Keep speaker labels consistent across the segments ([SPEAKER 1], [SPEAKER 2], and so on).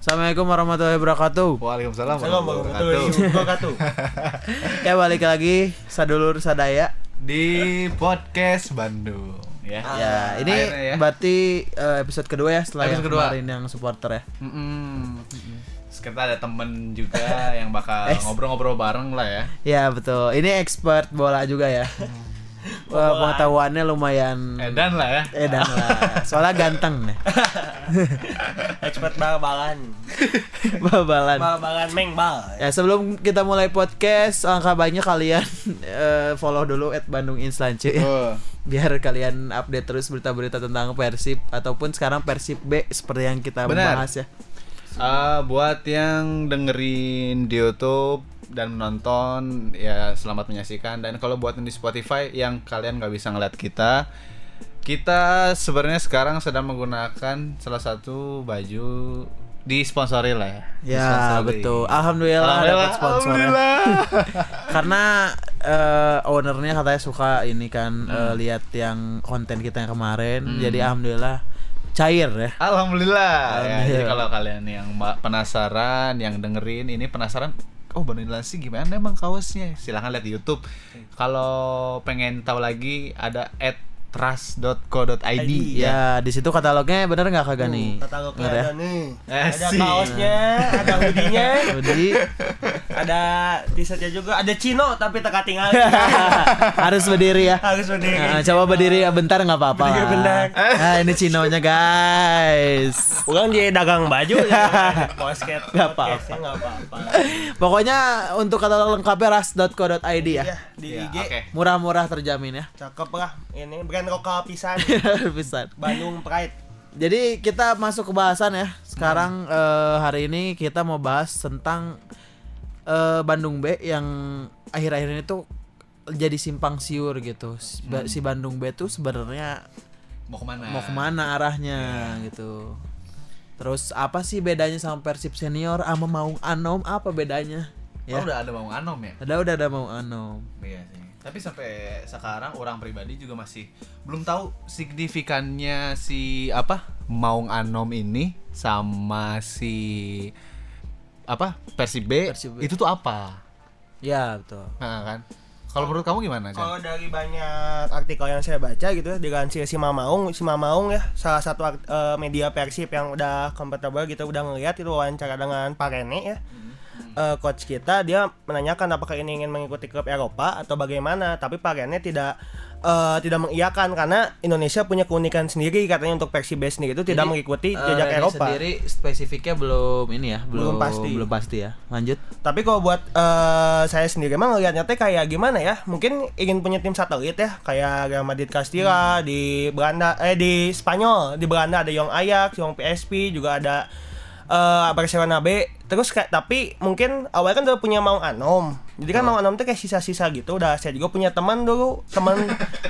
[SPEAKER 1] Assalamualaikum warahmatullahi wabarakatuh.
[SPEAKER 2] Waalaikumsalam
[SPEAKER 3] Assalamualaikum
[SPEAKER 2] warahmatullahi
[SPEAKER 3] warahmatullahi wabarakatuh.
[SPEAKER 1] Ya balik lagi sadulur sadaya.
[SPEAKER 2] Di podcast Bandung ya.
[SPEAKER 1] Ya, ini
[SPEAKER 2] akhirnya ya.
[SPEAKER 1] berarti eh, episode kedua ya setelah
[SPEAKER 2] Episode
[SPEAKER 1] yang
[SPEAKER 2] kedua.
[SPEAKER 1] kemarin yang supporter ya.
[SPEAKER 2] Mm-mm. Terus Kita ada temen juga yang bakal
[SPEAKER 1] Eh.
[SPEAKER 2] ngobrol-ngobrol bareng lah ya.
[SPEAKER 1] Ya betul. Ini expert bola juga ya. Wah, pengetahuannya lumayan
[SPEAKER 2] Hmm. Edan lah ya.
[SPEAKER 1] Mm. edan lah. Soalnya ganteng nih.
[SPEAKER 3] Expert bal-balan.
[SPEAKER 1] Babalan.
[SPEAKER 3] Bal-balan mengbal.
[SPEAKER 1] Ya sebelum kita mulai podcast, angka banyak kalian eh, follow dulu at Bandung Inslance ya.
[SPEAKER 2] Oh,
[SPEAKER 1] biar kalian update terus berita-berita tentang Persib ataupun sekarang Persib B seperti yang kita
[SPEAKER 2] Benar.
[SPEAKER 1] bahas ya.
[SPEAKER 2] Eh, buat yang dengerin di YouTube dan menonton ya selamat menyaksikan dan kalau buat yang di Spotify yang kalian nggak bisa ngeliat kita kita sebenarnya sekarang sedang menggunakan salah satu baju disponsori lah ya.
[SPEAKER 1] Ya
[SPEAKER 2] Disponsori.
[SPEAKER 1] betul. Alhamdulillah, dapat sponsornya. Karena eh, ownernya katanya suka ini
[SPEAKER 3] Hmm.
[SPEAKER 1] kan eh, lihat yang konten kita yang kemarin. Jadi alhamdulillah cair ya.
[SPEAKER 2] Alhamdulillah. Ya,
[SPEAKER 1] Alhamdulillah.
[SPEAKER 2] jadi kalau kalian yang ma- penasaran, yang dengerin ini penasaran, oh Bandung sih gimana emang kaosnya? Silahkan lihat di YouTube. Kalau pengen tahu lagi ada at trust.co.id
[SPEAKER 3] Iya.
[SPEAKER 2] ya.
[SPEAKER 1] Ya di situ katalognya bener nggak kagak nih?
[SPEAKER 3] Kata lo
[SPEAKER 1] Bener ya?
[SPEAKER 3] ada nih.
[SPEAKER 2] Eh,
[SPEAKER 3] Ada
[SPEAKER 2] sih.
[SPEAKER 3] kaosnya, ada hoodie-nya,
[SPEAKER 1] Jadi
[SPEAKER 3] ada t-shirtnya juga, ada chino tapi teka tinggal.
[SPEAKER 1] harus berdiri ya.
[SPEAKER 3] Harus berdiri.
[SPEAKER 1] Nah, coba berdiri ya bentar nggak apa-apa.
[SPEAKER 3] Berdiri bentar.
[SPEAKER 1] Nah, ini chinonya guys.
[SPEAKER 3] Ulang dia dagang baju ya. Basket.
[SPEAKER 1] Nggak apa-apa.
[SPEAKER 3] podcastnya nggak apa-apa.
[SPEAKER 1] Pokoknya untuk katalog lengkapnya ras.co.id ya.
[SPEAKER 3] Ya, di
[SPEAKER 2] Ya,
[SPEAKER 3] IG
[SPEAKER 2] oke.
[SPEAKER 1] Murah-murah terjamin ya.
[SPEAKER 3] cakep lah. Ini brand lokal pisan.
[SPEAKER 1] Pisan.
[SPEAKER 3] Bandung Pride.
[SPEAKER 1] Jadi kita masuk ke bahasan ya. Sekarang eh, hari ini kita mau bahas tentang eh, Bandung B yang akhir-akhir ini tuh jadi simpang siur gitu. Si, ba- si Bandung B tuh sebenarnya
[SPEAKER 2] Mau kemana?
[SPEAKER 1] mau kemana arahnya gitu. Terus apa sih bedanya sama Persib senior sama Maung Anom apa bedanya?
[SPEAKER 2] Oh,
[SPEAKER 1] Ya.
[SPEAKER 2] udah ada Bang Anom ya?
[SPEAKER 1] Ada udah ada Maung Anom.
[SPEAKER 2] Iya sih. Tapi sampai sekarang orang pribadi juga masih belum tahu signifikannya si apa Maung Anom ini sama si apa Persib B,
[SPEAKER 1] Persib B.
[SPEAKER 2] itu tuh apa?
[SPEAKER 1] Ya, betul.
[SPEAKER 2] Nah, kan. Kalau menurut kamu gimana, Jan?
[SPEAKER 3] Kalau dari banyak artikel yang saya baca gitu ya dilansir si Mamaung, si Mamaung ya salah satu art- eh, media Persib yang udah comfortable gitu udah ngelihat itu wawancara dengan Pak Rene ya.
[SPEAKER 1] Hmm.
[SPEAKER 3] Eh, coach kita dia menanyakan apakah ini ingin mengikuti klub Eropa atau bagaimana, tapi Pak Rene tidak eh, tidak mengiyakan karena Indonesia punya keunikan sendiri katanya untuk Persib B sendiri itu tidak
[SPEAKER 1] Jadi,
[SPEAKER 3] mengikuti
[SPEAKER 1] eh,
[SPEAKER 3] jejak
[SPEAKER 1] Rene
[SPEAKER 3] Eropa.
[SPEAKER 1] sendiri spesifiknya belum ini ya, belum,
[SPEAKER 3] Belum pasti.
[SPEAKER 1] belum pasti ya. Lanjut.
[SPEAKER 3] Tapi kalau buat eh, saya sendiri mah ngelihatnya teh kayak gimana ya? Mungkin ingin punya tim satelit ya, kayak Real Madrid Castilla
[SPEAKER 1] Hmm.
[SPEAKER 3] di Belanda eh di Spanyol, di Belanda ada Young Ajax, Young PSP, juga ada eh, Barcelona B. Terus kayak tapi mungkin awalnya kan udah punya Maung Anom. Jadi kan
[SPEAKER 1] Hmm.
[SPEAKER 3] Maung Anom tuh kayak sisa-sisa gitu. Udah saya juga punya teman dulu, teman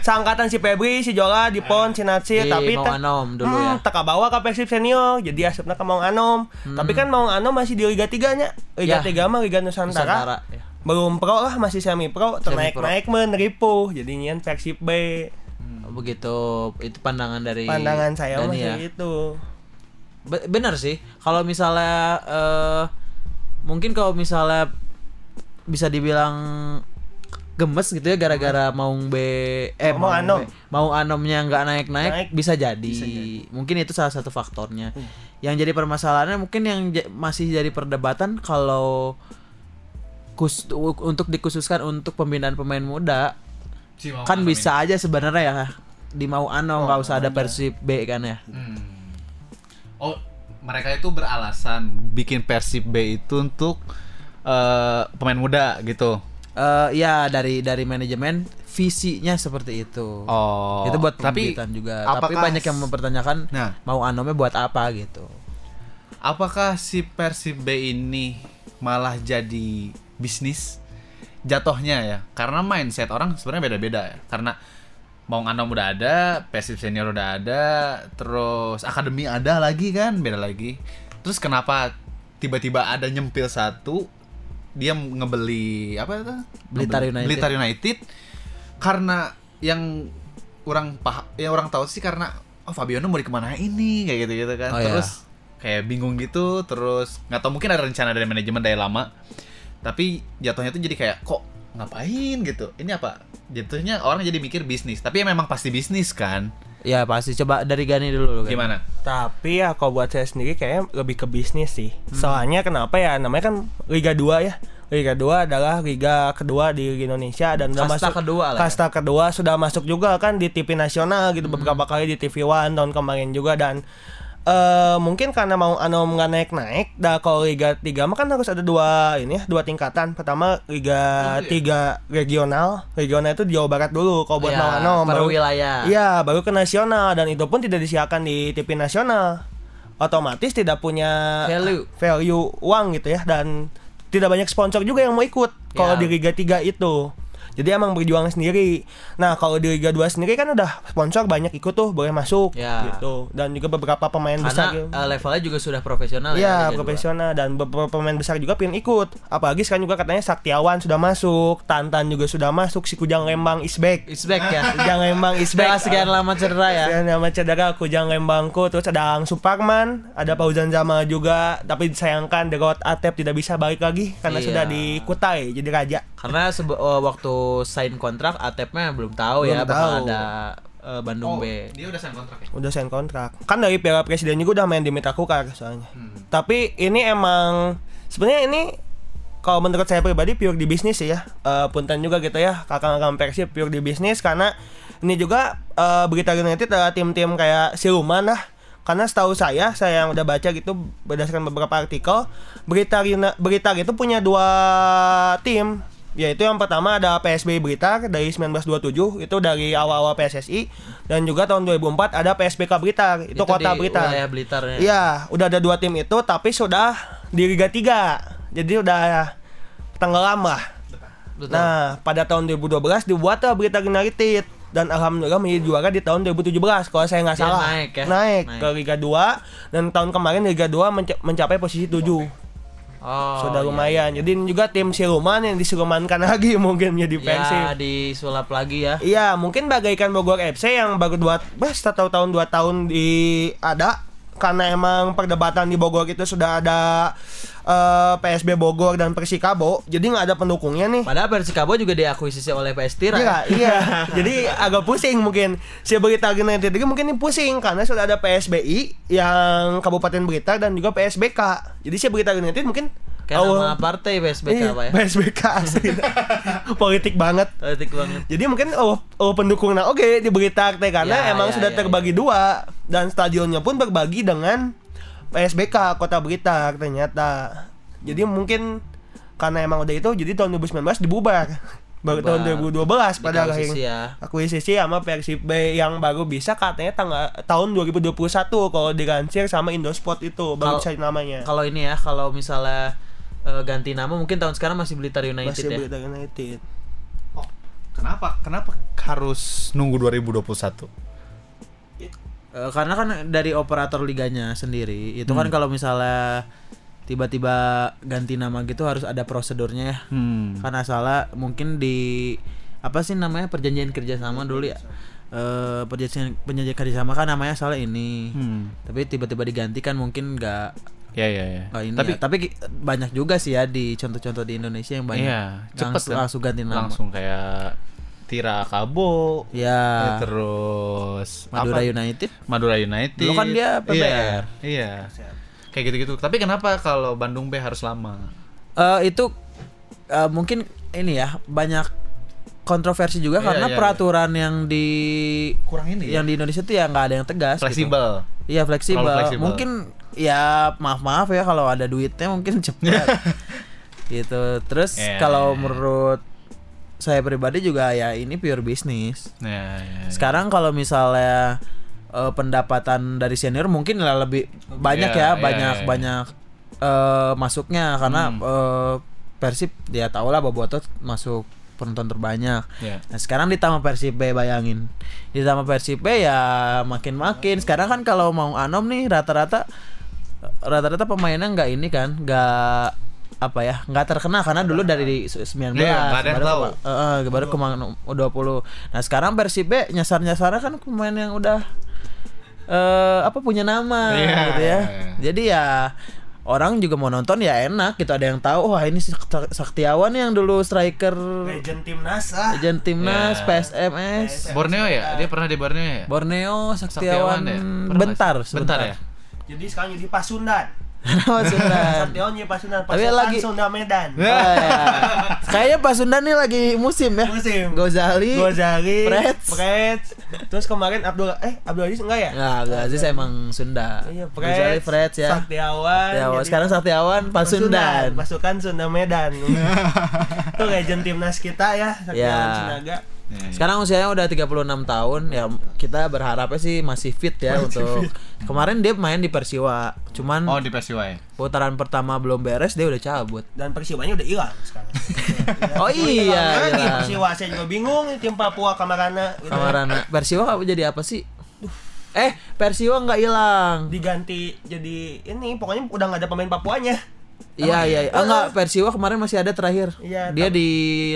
[SPEAKER 3] seangkatan si Febri, si Jola, Dipon, si Natsi,
[SPEAKER 1] Di
[SPEAKER 3] tapi
[SPEAKER 1] Maung
[SPEAKER 3] teh-
[SPEAKER 1] Iya, Anom dulu ya.
[SPEAKER 3] teka bawa ke Persib senior
[SPEAKER 1] Hmm.
[SPEAKER 3] jadi asupna ke Maung Anom tapi kan Maung Anom masih di Liga 3 nya Liga
[SPEAKER 1] Ya.
[SPEAKER 3] 3 mah Liga Nusantara,
[SPEAKER 1] Nusantara, ya.
[SPEAKER 3] belum pro lah masih semi pro ternaik
[SPEAKER 1] Semi-pro.
[SPEAKER 3] naik meneripu jadi nyian Persib B
[SPEAKER 1] Oh, Begitu itu pandangan dari
[SPEAKER 3] Hmm. pandangan saya
[SPEAKER 1] Dani
[SPEAKER 3] masih
[SPEAKER 1] ya.
[SPEAKER 3] itu
[SPEAKER 1] Be- benar sih. Kalau misalnya eh, mungkin kalau misalnya bisa dibilang gemes gitu ya gara-gara Maung B eh
[SPEAKER 3] Hmm. Maung Anom.
[SPEAKER 1] B- Maung Anomnya nggak naik-naik
[SPEAKER 3] Naik. Hmm.
[SPEAKER 1] bisa jadi. Mungkin itu salah satu faktornya. Yang jadi permasalahannya mungkin yang ja- masih jadi perdebatan kalau kus- u- untuk dikhususkan untuk pembinaan pemain muda
[SPEAKER 2] Si
[SPEAKER 3] Oh,
[SPEAKER 2] Maung
[SPEAKER 1] kan
[SPEAKER 2] Anom
[SPEAKER 1] bisa aja sebenarnya ya di Maung Anom nggak usah ada Persib B kan ya.
[SPEAKER 2] ini. Hmm. Oh, mereka itu beralasan bikin Persib B itu untuk eh, pemain muda gitu.
[SPEAKER 1] Eh, ya dari dari manajemen visinya seperti itu.
[SPEAKER 2] Oh.
[SPEAKER 1] itu buat
[SPEAKER 2] tapi
[SPEAKER 1] pembibitan juga. Tapi
[SPEAKER 2] apakah-
[SPEAKER 1] banyak yang mempertanyakan
[SPEAKER 2] Nah.
[SPEAKER 1] mau anomnya buat apa gitu.
[SPEAKER 2] Apakah si Persib B ini malah jadi bisnis jatohnya ya? Karena mindset orang sebenarnya beda-beda ya. Karena mau Anom udah ada, Persib senior udah ada, terus akademi ada lagi kan, beda lagi. Terus kenapa tiba-tiba ada nyempil satu dia ngebeli apa itu?
[SPEAKER 1] Blitar
[SPEAKER 2] Ngebeli-
[SPEAKER 1] United.
[SPEAKER 2] Blitar United. Karena yang orang paham, yang orang tahu sih karena oh Fabiano mau dikemanain nih kayak gitu-gitu kan.
[SPEAKER 1] Oh, iya.
[SPEAKER 2] terus kayak bingung gitu terus nggak tahu mungkin ada rencana dari manajemen dari lama tapi jatuhnya tuh jadi kayak kok ngapain gitu ini apa jatuhnya orang jadi mikir bisnis tapi ya memang pasti bisnis kan
[SPEAKER 1] Ya pasti coba dari Gani dulu. Gani.
[SPEAKER 2] gimana
[SPEAKER 3] Tapi ya kalau buat saya sendiri kayaknya lebih ke bisnis sih.
[SPEAKER 1] Hmm.
[SPEAKER 3] Soalnya kenapa ya namanya kan Liga 2 ya. Liga 2 adalah liga kedua di Indonesia dan
[SPEAKER 1] Kasta
[SPEAKER 3] udah masuk
[SPEAKER 1] kedua lah ya. Hmm.
[SPEAKER 3] Kasta kedua sudah masuk juga kan di TV nasional gitu beberapa kali di TV One tahun kemarin juga dan eh mungkin karena mau Anom nggak naik-naik, dah kalau Liga 3 mah kan harus ada dua ini ya, dua tingkatan. Pertama
[SPEAKER 1] Oh,
[SPEAKER 3] Liga
[SPEAKER 1] iya.
[SPEAKER 3] 3 regional, regional itu di Jawa Barat dulu kalau buat
[SPEAKER 1] Ya,
[SPEAKER 3] mau Anom
[SPEAKER 1] per
[SPEAKER 3] baru-
[SPEAKER 1] wilayah.
[SPEAKER 3] Iya, baru ke nasional dan itu pun tidak disiarkan di TV nasional. Otomatis tidak punya
[SPEAKER 1] Value.
[SPEAKER 3] value uang gitu ya dan tidak banyak sponsor juga yang mau ikut kalau
[SPEAKER 1] Ya.
[SPEAKER 3] di Liga 3 itu. Jadi emang berjuang sendiri. Nah, kalau di Liga 2 sendiri kan udah sponsor banyak ikut tuh, boleh masuk
[SPEAKER 1] Ya.
[SPEAKER 3] gitu. Dan juga beberapa pemain
[SPEAKER 1] Karena
[SPEAKER 3] besar gitu.
[SPEAKER 1] eh, levelnya juga sudah profesional ya,
[SPEAKER 3] Iya,
[SPEAKER 1] Liga dua.
[SPEAKER 3] profesional dan beberapa pemain besar juga pengen ikut. Apalagi sekarang juga katanya Saktiawan sudah masuk, Tantan juga sudah masuk, si Kujang Lembang is back.
[SPEAKER 1] It's back ya.
[SPEAKER 3] Kujang Lembang is
[SPEAKER 1] Setelah
[SPEAKER 3] back.
[SPEAKER 1] sekian lama cedera ya.
[SPEAKER 3] Dan nama cedera Kujang Lembangku terus ada Ang Suparman, ada Fauzan Jamal juga, tapi disayangkan The God Atep tidak bisa balik lagi
[SPEAKER 1] Iya.
[SPEAKER 3] karena sudah di Kutai jadi raja.
[SPEAKER 1] Karena sebe- eh, waktu sign kontrak Atepnya belum tahu ya
[SPEAKER 3] Belum
[SPEAKER 1] bakal
[SPEAKER 3] tahu. Oh.
[SPEAKER 1] ada eh, Bandung B.
[SPEAKER 2] Oh, dia udah sign kontrak ya
[SPEAKER 3] Udah sign kontrak. Kan dari Piala Presiden juga udah main di Mitra Kukar soalnya.
[SPEAKER 1] Hmm.
[SPEAKER 3] Tapi ini emang sebenarnya ini kalau menurut saya pribadi pure di bisnis sih ya. Eh, punten juga gitu ya, kakak-kakak Persib pure di bisnis karena ini juga eh, berita United adalah tim-tim kayak Siluman lah. Karena setahu saya, saya yang udah baca gitu berdasarkan beberapa artikel, Berita Yuna- Berita itu punya dua tim yaitu yang pertama ada PSB Blitar dari 1927 itu dari awal-awal PSSI dan juga tahun 2004 ada PSBK Blitar itu, kota
[SPEAKER 1] di
[SPEAKER 3] Blitar.
[SPEAKER 1] Wilayah Blitar ya.
[SPEAKER 3] Iya, udah ada dua tim itu tapi sudah di Liga 3. Jadi udah tenggelam lah.
[SPEAKER 1] Betul.
[SPEAKER 3] Nah, pada tahun 2012 dibuat lah berita United dan alhamdulillah menjadi juara di tahun 2017 kalau saya nggak
[SPEAKER 1] Dia
[SPEAKER 3] salah.
[SPEAKER 1] naik ya? Naik.
[SPEAKER 3] ke Liga 2 dan tahun kemarin Liga 2 menca- mencapai posisi 7.
[SPEAKER 1] oh,
[SPEAKER 3] Sudah
[SPEAKER 1] iya.
[SPEAKER 3] lumayan. Jadi ini juga tim Siluman yang disilumankan lagi mungkin menjadi Persib.
[SPEAKER 1] Ya disulap lagi ya.
[SPEAKER 3] Iya, mungkin bagaikan Bogor FC yang baru dua, bes satu tahun dua tahun di ada karena emang perdebatan di Bogor itu sudah ada eh, PSB Bogor dan Persikabo, jadi nggak ada pendukungnya nih.
[SPEAKER 1] Padahal Persikabo juga diakuisisi oleh PS Tira. ya.
[SPEAKER 3] Iya, iya. Jadi agak pusing mungkin. Si Berita United ini mungkin ini pusing karena sudah ada PSBI yang Kabupaten Berita dan juga PSBK. Jadi si Berita United mungkin
[SPEAKER 1] Kayak
[SPEAKER 3] awal-
[SPEAKER 1] nama partai PSBK
[SPEAKER 3] Iya,
[SPEAKER 1] apa ya?
[SPEAKER 3] PSBK asli. Politik banget.
[SPEAKER 1] Politik banget.
[SPEAKER 3] Jadi mungkin oh, oh pendukung nah oke di berita teh karena
[SPEAKER 1] Ya,
[SPEAKER 3] emang
[SPEAKER 1] ya,
[SPEAKER 3] sudah
[SPEAKER 1] ya,
[SPEAKER 3] terbagi dua dan stadionnya pun berbagi dengan PSBK Kota Blitar ternyata. Jadi mungkin karena emang udah itu jadi tahun 2019 dibubar. Baru
[SPEAKER 1] Bubar.
[SPEAKER 3] tahun 2012 pada
[SPEAKER 1] Dikuisisi ya.
[SPEAKER 3] akuisisi sama Persib B yang baru bisa katanya tanggal tahun 2021 kalau dilansir sama Indosport itu
[SPEAKER 1] Kalau-
[SPEAKER 3] baru bisa namanya.
[SPEAKER 1] Kalau ini ya, kalau misalnya eh, ganti nama mungkin tahun sekarang masih Blitar United
[SPEAKER 3] Masih
[SPEAKER 1] ya.
[SPEAKER 3] Blitar United.
[SPEAKER 2] oh kenapa kenapa harus nunggu 2021
[SPEAKER 1] Eh, karena kan dari operator liganya sendiri itu
[SPEAKER 3] Hmm.
[SPEAKER 1] kan kalau misalnya tiba-tiba ganti nama gitu harus ada prosedurnya ya
[SPEAKER 2] hmm
[SPEAKER 1] karena salah mungkin di apa sih namanya perjanjian kerjasama dulu ya Eh, perjanjian perjanjian kerjasama kan namanya salah ini
[SPEAKER 2] Hmm.
[SPEAKER 1] tapi tiba-tiba digantikan mungkin nggak
[SPEAKER 2] ya ya ya
[SPEAKER 1] nggak ini
[SPEAKER 2] tapi
[SPEAKER 1] ya. tapi ki- banyak juga sih ya di contoh-contoh di Indonesia yang banyak
[SPEAKER 2] Iya,
[SPEAKER 1] langsung,
[SPEAKER 2] cepet kan?
[SPEAKER 1] langsung ganti nama
[SPEAKER 2] langsung kayak Tira Kabo
[SPEAKER 1] ya
[SPEAKER 2] ya, terus
[SPEAKER 1] Madura
[SPEAKER 2] apa?
[SPEAKER 1] United
[SPEAKER 2] Madura United
[SPEAKER 1] Dulu kan dia PBR.
[SPEAKER 2] iya, iya. kayak gitu-gitu tapi kenapa kalau Bandung B harus lama
[SPEAKER 1] Eh, itu eh, mungkin ini ya banyak kontroversi juga
[SPEAKER 2] Iya,
[SPEAKER 1] karena
[SPEAKER 2] iya,
[SPEAKER 1] peraturan yang di
[SPEAKER 2] kurang ini
[SPEAKER 1] yang
[SPEAKER 2] yang
[SPEAKER 1] di Indonesia tuh ya nggak ada yang tegas gitu.
[SPEAKER 2] fleksibel
[SPEAKER 1] Iya fleksibel.
[SPEAKER 2] Terlalu fleksibel.
[SPEAKER 1] Mungkin ya maaf maaf ya kalau ada duitnya mungkin cepat. gitu. Terus
[SPEAKER 2] Iya.
[SPEAKER 1] kalau menurut saya pribadi juga ya ini pure bisnis.
[SPEAKER 2] ya, ya, ya.
[SPEAKER 1] Sekarang kalau misalnya eh, pendapatan dari senior mungkin lah lebih banyak
[SPEAKER 2] Iya,
[SPEAKER 1] ya,
[SPEAKER 2] iya,
[SPEAKER 1] banyak
[SPEAKER 2] iya. Hmm.
[SPEAKER 1] banyak eh, masuknya karena eh, Persib dia tahu lah Boboto masuk penonton terbanyak.
[SPEAKER 2] Iya.
[SPEAKER 1] Nah sekarang ditambah Persib B bayangin Ditambah Persib B ya makin-makin Sekarang kan kalau mau Anom nih rata-rata Rata-rata pemainnya nggak ini kan nggak apa ya nggak terkena karena dulu dari 19
[SPEAKER 2] Iya, nggak ada yang
[SPEAKER 1] baru
[SPEAKER 2] tahu.
[SPEAKER 1] ke- eh, eh, baru ke Magnum 20 nah sekarang Persib B nyasar nyasarnya kan pemain yang udah eh, apa punya nama
[SPEAKER 2] Iya.
[SPEAKER 1] gitu ya. Jadi ya orang juga mau nonton ya enak gitu ada yang tahu wah ini si Sakti- Saktiawan yang dulu striker
[SPEAKER 3] Legend timnas lah.
[SPEAKER 1] legend timnas
[SPEAKER 2] Iya.
[SPEAKER 1] PSMS
[SPEAKER 2] Borneo ya? Dia pernah di Borneo ya?
[SPEAKER 1] Borneo Saktiawan,
[SPEAKER 2] ya? Pernah nggak?
[SPEAKER 1] bentar
[SPEAKER 2] Bentar ya?
[SPEAKER 3] Jadi sekarang jadi Pasundan.
[SPEAKER 1] Nama Sundan.
[SPEAKER 3] Satyon jadi Pasundan.
[SPEAKER 1] Kan. Tapi
[SPEAKER 3] Pasundan
[SPEAKER 1] lagi-
[SPEAKER 3] Sunda Medan.
[SPEAKER 1] Oh, ya. Kayaknya Pak Sundan nih lagi musim ya.
[SPEAKER 3] Musim.
[SPEAKER 1] Gozali.
[SPEAKER 3] Gozali,
[SPEAKER 1] Preds.
[SPEAKER 3] Preds. Terus kemarin Abdul eh Abdul Aziz enggak ya?
[SPEAKER 1] Nah, Gozali saya emang Sunda.
[SPEAKER 3] Iya, Preds.
[SPEAKER 1] Gozali Freds ya.
[SPEAKER 3] Saktiawan.
[SPEAKER 1] Saktiawan.
[SPEAKER 3] jadi-
[SPEAKER 1] Sekarang Saktiawan Pak Sundan.
[SPEAKER 3] Pasukan Sunda Medan.
[SPEAKER 2] Iya,
[SPEAKER 3] Itu legend timnas kita ya, Saktiawan
[SPEAKER 1] Ya.
[SPEAKER 3] Sinaga.
[SPEAKER 2] iya.
[SPEAKER 1] Sekarang usianya udah 36 tahun ya kita berharapnya sih masih fit ya untuk kemarin dia main di Persiwa. Cuman
[SPEAKER 2] Oh di Persiwa ya?
[SPEAKER 1] putaran pertama belum beres dia udah cabut.
[SPEAKER 3] Dan Persiwanya udah hilang sekarang.
[SPEAKER 1] Oh
[SPEAKER 3] Hilang
[SPEAKER 1] iya.
[SPEAKER 3] lagi
[SPEAKER 1] hilang.
[SPEAKER 3] Persiwa saya juga bingung tim Papua Kamarana gitu.
[SPEAKER 1] Kamarana. Persiwa apa jadi apa sih? Eh, Persiwa nggak hilang.
[SPEAKER 3] diganti jadi ini pokoknya udah nggak ada pemain Papuanya.
[SPEAKER 1] Iya iya, iya. Ah, enggak Persiwa kemarin masih ada terakhir.
[SPEAKER 3] Iya,
[SPEAKER 1] Dia di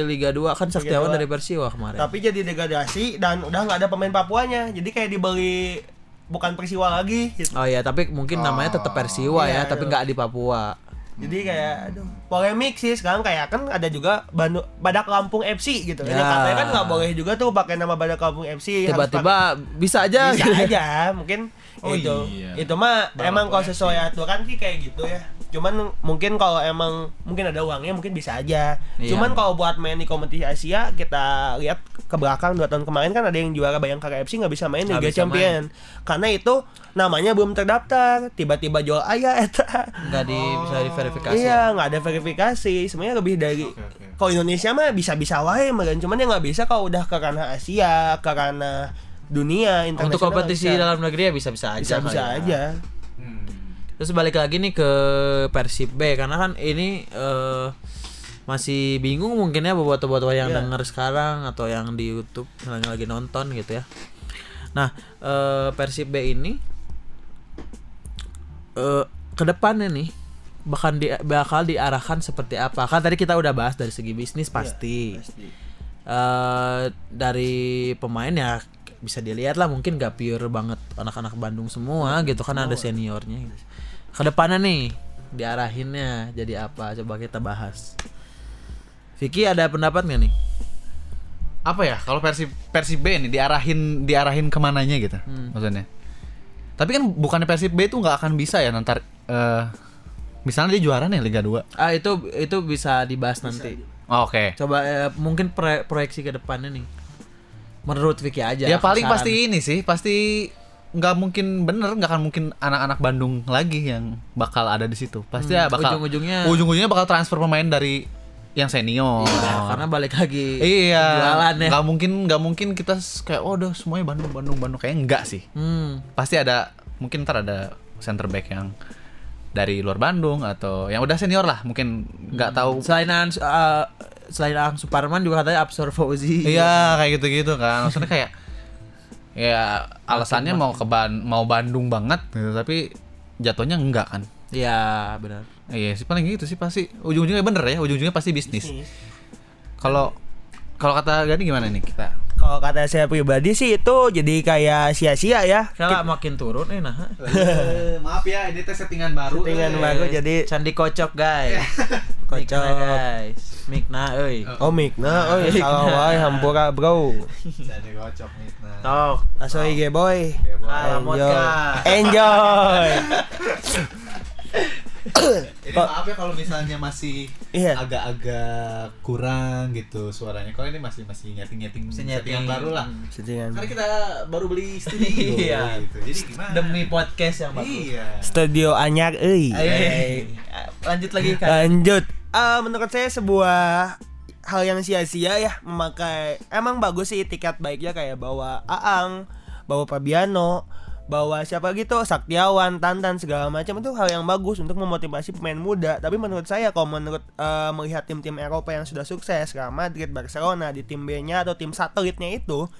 [SPEAKER 1] Liga 2 kan Saktiawan
[SPEAKER 3] Liga dua.
[SPEAKER 1] dari Persiwa kemarin.
[SPEAKER 3] Tapi jadi degradasi dan udah nggak ada pemain Papuanya. Jadi kayak dibeli bukan Persiwa lagi gitu.
[SPEAKER 1] Oh iya, tapi mungkin namanya
[SPEAKER 3] Oh,
[SPEAKER 1] tetap Persiwa
[SPEAKER 3] iya,
[SPEAKER 1] ya, tapi nggak di Papua.
[SPEAKER 3] Jadi kayak aduh, polemik sih sekarang kayak kan ada juga Bandu- Badak Lampung FC gitu.
[SPEAKER 1] Ya.
[SPEAKER 3] Ya. Katanya kan nggak boleh juga tuh pakai nama Badak Lampung FC. Iya, harus
[SPEAKER 1] Tiba-tiba bisa aja.
[SPEAKER 3] pakai- bisa
[SPEAKER 1] gitu.
[SPEAKER 3] aja mungkin
[SPEAKER 2] Oh
[SPEAKER 3] itu.
[SPEAKER 2] iya.
[SPEAKER 3] Itu mah
[SPEAKER 2] Badak
[SPEAKER 3] emang kalau
[SPEAKER 2] Lampung
[SPEAKER 3] sesuai aturan sih kayak gitu ya. Cuman mungkin kalau emang mungkin ada uangnya mungkin bisa aja.
[SPEAKER 1] Iya.
[SPEAKER 3] Cuman kalau buat main di kompetisi Asia kita lihat ke belakang dua tahun kemarin kan ada yang juara Bayangkara FC nggak bisa main di
[SPEAKER 1] Nggak
[SPEAKER 3] Liga
[SPEAKER 1] bisa
[SPEAKER 3] Champion karena itu namanya belum terdaftar tiba-tiba jual ayah eta
[SPEAKER 1] Nggak di bisa diverifikasi.
[SPEAKER 3] Iya, nggak ada verifikasi. Sebenarnya lebih dari
[SPEAKER 2] oke.
[SPEAKER 3] kalau Indonesia mah bisa-bisa wae, makan cuman ya nggak bisa kalau udah ke ranah Asia, ke ranah dunia internasional.
[SPEAKER 1] Untuk kompetisi
[SPEAKER 3] bisa.
[SPEAKER 1] dalam negeri ya bisa-bisa aja.
[SPEAKER 3] bisa-bisa
[SPEAKER 1] kali ya.
[SPEAKER 3] aja.
[SPEAKER 2] Hmm.
[SPEAKER 1] Terus balik lagi nih ke Persib B karena kan ini eh, masih bingung mungkin ya buat buat yang
[SPEAKER 3] Iya.
[SPEAKER 1] denger sekarang atau yang di YouTube yang lagi nonton gitu ya. Nah, eh, Persib B ini eh ke depannya nih bahkan di, bakal diarahkan seperti apa? Kan tadi kita udah bahas dari segi bisnis pasti.
[SPEAKER 3] Pasti.
[SPEAKER 1] Eh, dari pemain ya bisa dilihat lah mungkin gak pure banget anak-anak Bandung semua gitu kan ada seniornya gitu. Kedepannya nih diarahinnya jadi apa coba kita bahas. Vicky ada pendapat gak nih?
[SPEAKER 2] Apa ya? Kalau Persib Persib B nih diarahin diarahin kemananya gitu maksudnya? Tapi kan bukannya Persib B itu nggak akan bisa ya nanti misalnya dia juara nih Liga 2
[SPEAKER 1] Ah itu itu bisa dibahas nanti.
[SPEAKER 2] Oh, Oke.
[SPEAKER 1] Coba eh, mungkin pre- proyeksi kedepannya nih. Menurut Vicky aja.
[SPEAKER 2] Ya paling
[SPEAKER 1] saran.
[SPEAKER 2] pasti ini sih, pasti nggak mungkin bener nggak akan mungkin anak-anak Bandung lagi yang bakal ada di situ. Pasti ya bakal
[SPEAKER 1] ujung-ujungnya-
[SPEAKER 2] ujung-ujungnya bakal transfer pemain dari yang senior.
[SPEAKER 1] Nah, karena balik lagi
[SPEAKER 2] Iya.
[SPEAKER 1] jualan ya.
[SPEAKER 2] Nggak mungkin nggak mungkin kita s- kayak oh udah semuanya Bandung Bandung Bandung kayak enggak sih.
[SPEAKER 1] Hmm.
[SPEAKER 2] Pasti ada mungkin ntar ada center back yang dari luar Bandung atau yang udah senior lah mungkin nggak tahu
[SPEAKER 1] Selain Ans- eh, selain Ang Suparman juga katanya Absor Fauzi.
[SPEAKER 2] Iya kayak gitu-gitu kan. Maksudnya kayak ya alasannya mau ke Ban- mau Bandung banget gitu, tapi jatuhnya enggak kan.
[SPEAKER 1] Iya, benar.
[SPEAKER 2] Iya sih paling gitu sih pasti ujung-ujungnya bener ya, ujung-ujungnya pasti bisnis.
[SPEAKER 3] Nih,
[SPEAKER 2] Kalau kalau kata Gani gimana nih kita?
[SPEAKER 3] Kalau kata saya pribadi sih itu jadi kayak sia-sia ya.
[SPEAKER 1] Kalau makin turun eh nah.
[SPEAKER 2] maaf ya, ini tes settingan baru.
[SPEAKER 3] Settingan baru jadi
[SPEAKER 1] candi kocok guys.
[SPEAKER 3] Kocok.
[SPEAKER 1] Mikna, guys. Mikna euy.
[SPEAKER 3] Omik. Nah, oh ya salah wae hampura bro.
[SPEAKER 2] Jadi kocok nih. Nah,
[SPEAKER 3] Nah,
[SPEAKER 1] Tok.
[SPEAKER 3] Aso IG boy.
[SPEAKER 1] Alamot,
[SPEAKER 3] Enjoy.
[SPEAKER 1] Kak.
[SPEAKER 3] Enjoy.
[SPEAKER 2] Ini maaf ya kalau misalnya masih
[SPEAKER 3] Iya.
[SPEAKER 2] agak-agak kurang gitu suaranya. Kalau ini masih masih Hmm. nyeting-nyeting
[SPEAKER 1] settingan baru lah.
[SPEAKER 3] Settingan.
[SPEAKER 2] kita baru beli
[SPEAKER 1] studio, gitu.
[SPEAKER 2] Jadi gimana? Iya.
[SPEAKER 1] Demi podcast yang
[SPEAKER 3] Iya.
[SPEAKER 1] bagus.
[SPEAKER 3] Studio Anyar
[SPEAKER 1] Iya.
[SPEAKER 3] euy.
[SPEAKER 1] Ayo,
[SPEAKER 3] Iya.
[SPEAKER 1] lanjut lagi kan.
[SPEAKER 3] Lanjut. Eh, menurut saya sebuah hal yang sia-sia ya memakai emang bagus sih tiket baiknya kayak bawa Aang, bawa Fabiano, bawa siapa gitu Saktiawan, Tantan segala macam itu hal yang bagus untuk memotivasi pemain muda. Tapi menurut saya kalau menurut eh, melihat tim-tim Eropa yang sudah sukses kayak Madrid, Barcelona di tim B-nya atau tim satelitnya itu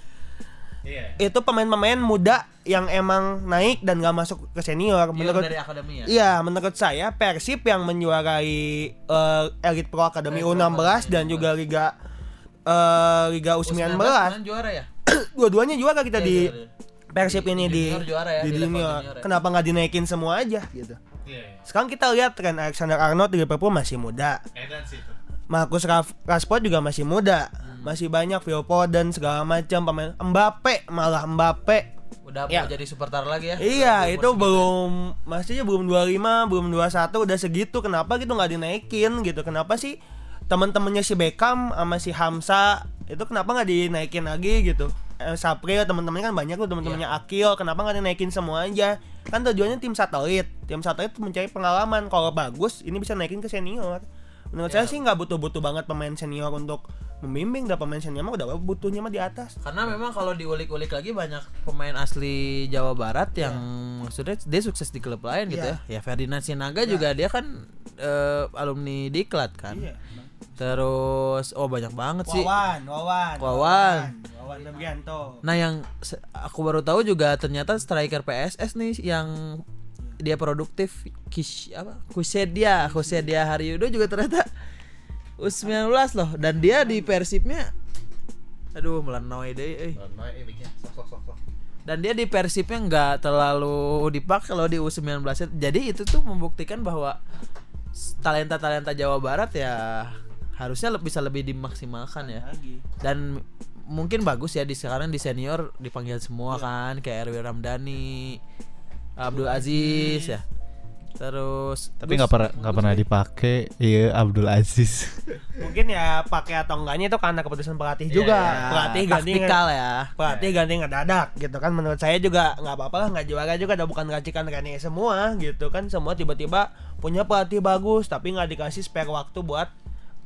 [SPEAKER 3] itu pemain-pemain muda yang emang naik dan gak masuk ke senior menurut
[SPEAKER 1] Iya, dari akademi ya.
[SPEAKER 3] Iya, menurut saya Persib yang menjuarai eh, Elite Pro Academy
[SPEAKER 1] Elite Pro
[SPEAKER 3] U16
[SPEAKER 1] Academy
[SPEAKER 3] dan juga Liga eh, Liga U19.
[SPEAKER 1] juara ya?
[SPEAKER 3] Dua-duanya juara
[SPEAKER 1] Iya,
[SPEAKER 3] kita di
[SPEAKER 1] juara.
[SPEAKER 3] Persib ini di
[SPEAKER 4] junior juara ya,
[SPEAKER 3] di
[SPEAKER 4] di level
[SPEAKER 3] junior.
[SPEAKER 4] junior ya.
[SPEAKER 3] Kenapa nggak dinaikin semua aja gitu?
[SPEAKER 2] Iya.
[SPEAKER 3] Sekarang kita lihat tren Alexander Arnold di Liverpool masih muda.
[SPEAKER 2] Edan sih itu.
[SPEAKER 3] Marcus Raf- Rashford juga masih muda. Masih banyak Phil Foden segala macam pemain Mbappe malah Mbappe.
[SPEAKER 4] Udah
[SPEAKER 3] Ya.
[SPEAKER 4] mau jadi superstar lagi ya?
[SPEAKER 3] Iya, itu belum masihnya belum 25, belum 21 udah segitu. Kenapa gitu nggak dinaikin gitu? Kenapa sih teman-temannya si Beckham sama si Hamsa itu kenapa nggak dinaikin lagi gitu? Eh, Sapril teman-temannya kan banyak tuh teman-temannya Akil, kenapa nggak dinaikin semua aja? Kan tujuannya tim satelit. Tim satelit mencari pengalaman. Kalau bagus ini bisa naikin ke senior. Menurut saya sih nggak butuh-butuh banget pemain senior untuk membimbing dan pemain senior mah udah butuhnya mah di atas.
[SPEAKER 4] Karena memang kalau diulik-ulik lagi banyak
[SPEAKER 1] pemain asli Jawa Barat
[SPEAKER 3] Iya.
[SPEAKER 1] yang maksudnya dia sukses di klub lain gitu ya. Ya Ferdinand Sinaga
[SPEAKER 3] Iya.
[SPEAKER 1] juga dia kan eh, alumni Diklat kan. Terus oh banyak banget sih.
[SPEAKER 3] Wawan, Wawan.
[SPEAKER 1] Wawan.
[SPEAKER 3] Wawan Debrianto.
[SPEAKER 1] Nah, yang se- aku baru tahu juga ternyata striker PSS nih yang dia produktif Kish apa? Kusedia, Kusedia Haryudo juga ternyata U19 loh dan dia di Persibnya aduh melenoy deh eh.
[SPEAKER 2] Iya.
[SPEAKER 1] euy. dan dia di Persibnya nggak terlalu dipakai loh di U19 jadi itu tuh membuktikan bahwa talenta talenta Jawa Barat ya harusnya lebih bisa lebih dimaksimalkan ya dan mungkin bagus ya di sekarang di senior dipanggil semua kan kayak Erwin Ramdhani Abdul Aziz ya terus
[SPEAKER 2] Tapi nggak pernah nggak pernah dipakai. Iya Abdul Aziz.
[SPEAKER 3] mungkin ya pakai atau enggaknya itu karena keputusan pelatih juga pelatih ganti
[SPEAKER 1] Iya, taktikal ya
[SPEAKER 3] pelatih ganti ngedadak gitu kan menurut saya juga nggak apa-apa lah nggak juara juga udah bukan racikan Rene semua gitu kan semua tiba-tiba punya pelatih bagus tapi nggak dikasih spare waktu buat